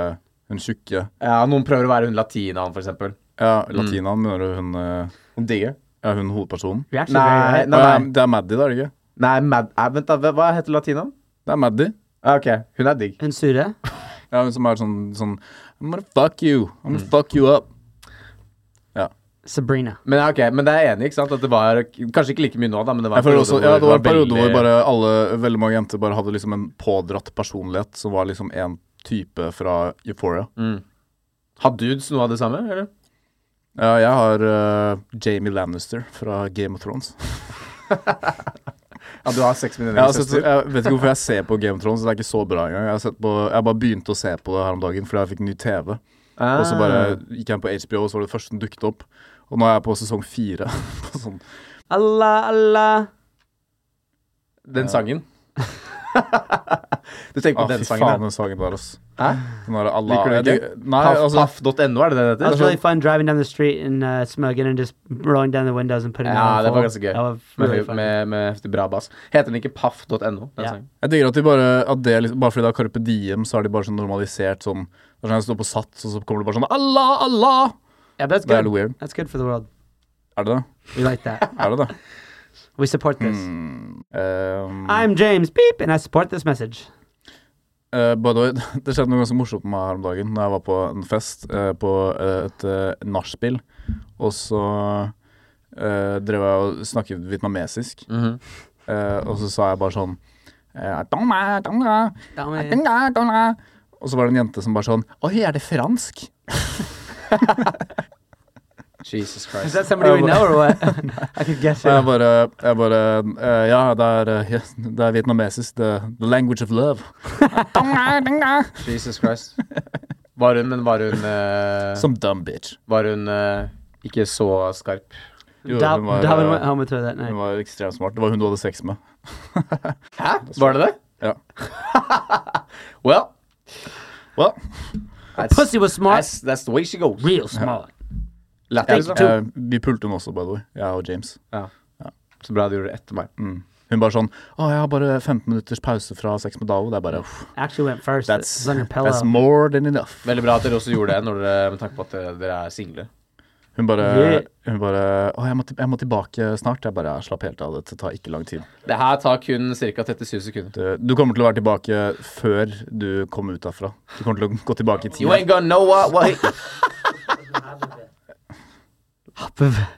Speaker 1: hun tjukke.
Speaker 2: ja, Noen prøver å være hun latinaen, for eksempel.
Speaker 1: Ja, latinaen, mener du hun eh,
Speaker 2: Digger.
Speaker 1: Ja, hun hovedpersonen?
Speaker 3: You're actually very
Speaker 2: Nei,
Speaker 3: right.
Speaker 2: nei,
Speaker 1: Å, ja,
Speaker 2: nei.
Speaker 1: Det er Maddy, det er det ikke?
Speaker 2: nei mad, eh, vent, da. hva- Hva heter latinaen?
Speaker 1: Det er Maddy.
Speaker 2: Ah, OK, hun er digg.
Speaker 3: And Suda.
Speaker 1: Ja, hun som er sånn sånn I'm gonna fuck you. I'm gonna fuck you up.
Speaker 3: Sabrina.
Speaker 2: Men, ja, ok, men det er jeg enig i, ikke sant? At det var Kanskje ikke like mye nå, da, men det var
Speaker 1: Jeg føler også, ja, det var en periode hvor
Speaker 2: veldig-
Speaker 1: bare alle, veldig mange jenter bare hadde liksom en pådratt personlighet som var liksom en type fra Euphoria.
Speaker 2: Har dudes noe av det samme, eller?
Speaker 1: Ja, jeg har eh, Jamie Lannister fra Game of Thrones.
Speaker 2: Ja, du har sex med
Speaker 1: Jeg,
Speaker 2: din egen
Speaker 1: har sett,
Speaker 2: søster.
Speaker 1: jeg vet ikke hvorfor jeg ser på Game of Thrones, det er ikke så bra engang. Jeg har, sett på, jeg bare begynte å se på det her om dagen fordi jeg fikk ny TV. Og så bare
Speaker 2: Ah.
Speaker 1: gikk jeg på HBO, og så var det det første som dukket opp. Og nå er jeg på sesong fire. [LAUGHS] på sånn.
Speaker 3: Allah, Allah.
Speaker 2: Den sangen. [LAUGHS] du tenker på
Speaker 1: ah,
Speaker 2: den
Speaker 1: fy faen,
Speaker 2: sangen, da.
Speaker 1: den sangen der, ass.
Speaker 2: Hæ?
Speaker 1: Den der Allah.
Speaker 2: Liker du
Speaker 1: Jeg
Speaker 2: den
Speaker 1: lik- Nei,
Speaker 2: Paff-
Speaker 1: altså
Speaker 2: Paff.no, er det det
Speaker 3: That
Speaker 2: den
Speaker 3: was really
Speaker 2: heter?
Speaker 3: fun driving down the street and uh, smugging and just rolling down the windows and putting it
Speaker 2: Ja,
Speaker 3: on
Speaker 2: det
Speaker 3: full.
Speaker 2: var ganske gøy.
Speaker 3: That was really
Speaker 2: Med,
Speaker 3: fun.
Speaker 2: med, med heftig bra bass. Heter den ikke paff.no? den
Speaker 3: Ja.
Speaker 2: sangen?
Speaker 1: Jeg digger at de bare at det, er liksom, Bare fordi det er Carpe Diem, så er de bare sånn normalisert sånn Det er sånn jeg står på sats, og så kommer det bare sånn Allah, Allah!
Speaker 3: Yeah, that's
Speaker 1: Det er
Speaker 3: good.
Speaker 1: litt weird.
Speaker 3: That's good for the world.
Speaker 1: Er det det?
Speaker 3: We like that.
Speaker 1: Er det det?
Speaker 3: we support this.
Speaker 1: Um,
Speaker 3: I'm James Beep, and I support this message.
Speaker 1: Eh, by the way, [LAUGHS] det skjedde noe ganske morsomt med meg her om dagen Når jeg var på en fest eh, på eh, et uh, nachspiel. Og så eh, drev jeg og snakket vietnamesisk. Eh, og så sa jeg bare sånn eh, «Donga, donga, donga, donga». Og så var det en jente som bare sånn Oi, er det fransk?
Speaker 2: Jesus
Speaker 3: Is
Speaker 2: Christ.
Speaker 3: that somebody we know or what? Uh, [LAUGHS] Um, I could guess
Speaker 1: Jeg
Speaker 3: it.
Speaker 1: bare, jeg bare eh, Ja, det er, eh, yes, det er vietnamesisk. The, the language of love.
Speaker 2: Jesus Christ. Var hun, men var hun eh,
Speaker 1: Some dumb bitch.
Speaker 2: Var hun eh, ikke så skarp?
Speaker 1: Jo,
Speaker 3: Dav-
Speaker 1: hun var,
Speaker 3: Davin went
Speaker 1: eh,
Speaker 3: home with her that
Speaker 1: hun
Speaker 3: night.
Speaker 1: var ekstremt smart. Det var hun du hadde sex med.
Speaker 2: Hæ? Var det det?
Speaker 1: Ja.
Speaker 2: Well,
Speaker 1: Well,
Speaker 2: that's,
Speaker 3: Pussy was smart.
Speaker 2: that's, that's the way she goes.
Speaker 3: Real smart.
Speaker 2: Lættis, da.
Speaker 1: eh, vi pulte hun også, by the way. Jeg og James.
Speaker 2: Så bra du gjorde det etter meg.
Speaker 1: Hun bare sånn Å, jeg har bare 15 minutters pause fra sex med Davo. Det er
Speaker 2: Mm.
Speaker 1: bare uff,
Speaker 3: Actually went first.
Speaker 1: that's,
Speaker 3: It's on your pillow.
Speaker 1: that's more than enough.
Speaker 2: Veldig bra at dere også gjorde det, når dere, med tanke på at dere- dere er single.
Speaker 1: Hun bare,
Speaker 3: Yeah.
Speaker 1: hun bare Å, jeg må, til- jeg må tilbake snart. Jeg bare «Ja, slapp helt av, dette tar ikke lang tid.
Speaker 2: Det her tar kun ca. 37 sekunder.
Speaker 1: Du, du kommer til å være tilbake før du kom ut derfra. Du kommer til å gå tilbake i tid.
Speaker 2: You ain't gonna know what, what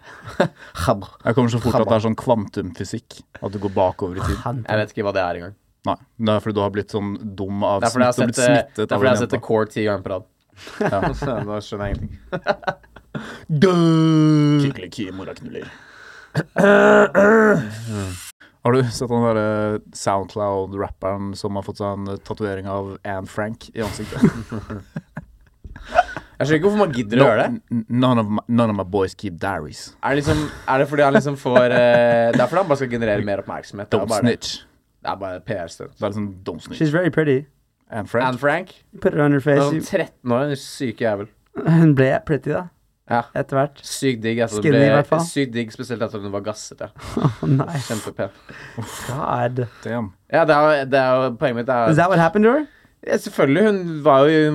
Speaker 1: Jeg kommer så fort at det er sånn kvantumfysikk. At du går bakover i tid.
Speaker 2: Jeg vet ikke hva det er engang.
Speaker 1: Nei, Det er fordi du har blitt sånn dum av
Speaker 2: Det er fordi jeg har
Speaker 1: smitt. Du har blitt
Speaker 2: sett, eh, det
Speaker 1: smittet
Speaker 2: er
Speaker 1: av
Speaker 2: fordi jeg
Speaker 1: en
Speaker 2: har sett The
Speaker 1: jente.
Speaker 2: Core ti ganger på rad.
Speaker 1: Ja.
Speaker 2: [LAUGHS] Så Nå skjønner
Speaker 1: [LAUGHS]
Speaker 2: jeg ingenting.
Speaker 1: Skikkelig kymoraknuller. [CLEARS THROAT] Har du sett den derre Soundcloud-rapperen som har fått seg en eh, tatovering av Anne Frank i ansiktet?
Speaker 2: [LAUGHS] Jeg skjønner ikke hvorfor man gidder å gjøre det.
Speaker 1: N- None of, my, none of my boys keep diaries.
Speaker 2: Er det, liksom, er det fordi han liksom får eh, Det er fordi han bare skal generere mer oppmerksomhet. Det er
Speaker 1: Don't
Speaker 2: bare, det.
Speaker 1: snitch.
Speaker 2: Det er bare PR-stunt.
Speaker 1: Det er liksom don't snitch.
Speaker 3: She's very pretty.
Speaker 1: Anne Frank.
Speaker 2: Anne Frank,
Speaker 3: You put it on her
Speaker 2: hun
Speaker 3: face.
Speaker 2: er
Speaker 3: you-
Speaker 2: sånn 13 år, en syke jævel.
Speaker 3: Hun [LAUGHS] ble pretty, da.
Speaker 2: Ja.
Speaker 3: Etter hvert. [LAUGHS]
Speaker 2: Sykt digg. Altså,
Speaker 3: Skinny i hvert fall.
Speaker 2: sykt digg, spesielt etter at hun var gassete.
Speaker 3: Oh, nice.
Speaker 2: Kjempepen.
Speaker 3: God.
Speaker 1: Damn.
Speaker 2: Ja, det er, jo- det er jo poenget mitt.
Speaker 3: Is
Speaker 2: Er,
Speaker 3: that what happened to her?
Speaker 2: ja, selvfølgelig, hun var jo hun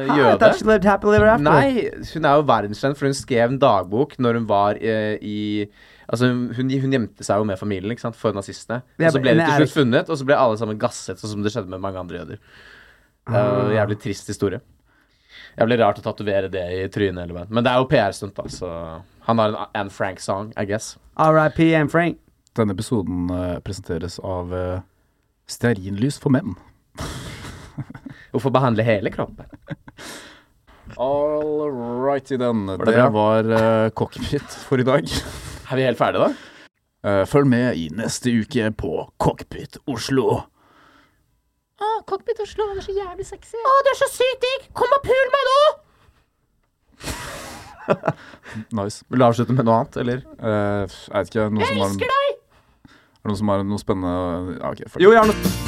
Speaker 3: Ah, I
Speaker 2: jøde.
Speaker 3: thought she lived happily ever after.
Speaker 2: Nei, hun er jo verdenskjent, for hun skrev en dagbok når hun var eh, i Altså, hun, hun gjemte seg jo med familien ikke sant, for nazistene.
Speaker 3: Ja,
Speaker 2: og så ble
Speaker 3: men
Speaker 2: de
Speaker 3: er
Speaker 2: til
Speaker 3: det
Speaker 2: slutt funnet, og så ble alle sammen gasset, sånn som det skjedde med mange andre jøder. Det er jo en jævlig trist historie. Jævlig rart å tatovere det i trynet, eller hva. Men det er jo PR-stunt, da, så Han har en Anne Frank-sang, I guess.
Speaker 3: R.I.P. and Frank.
Speaker 1: Denne episoden eh, presenteres av eh, Stearinlys for menn.
Speaker 2: Hvorfor behandle hele kroppen?
Speaker 1: All righty then. Det,
Speaker 2: bra?
Speaker 1: var eh, cockpit for i
Speaker 2: [LAUGHS]
Speaker 1: dag.
Speaker 2: Er vi helt ferdige, da?
Speaker 1: Eh, følg med i neste uke på Cockpit Oslo.
Speaker 10: Å, cockpit Oslo, han er så jævlig sexy. Å, du er så sykt digg! Kom og pul meg nå!
Speaker 1: [LAUGHS] Nice.
Speaker 2: Vil du avslutte med noe annet, eller?
Speaker 1: Eh, jeg vet ikke, er det noen som har
Speaker 10: Elsker deg!
Speaker 1: er det noen som har noe spennende ja, ok, fuck it.
Speaker 2: Jo, jeg har noe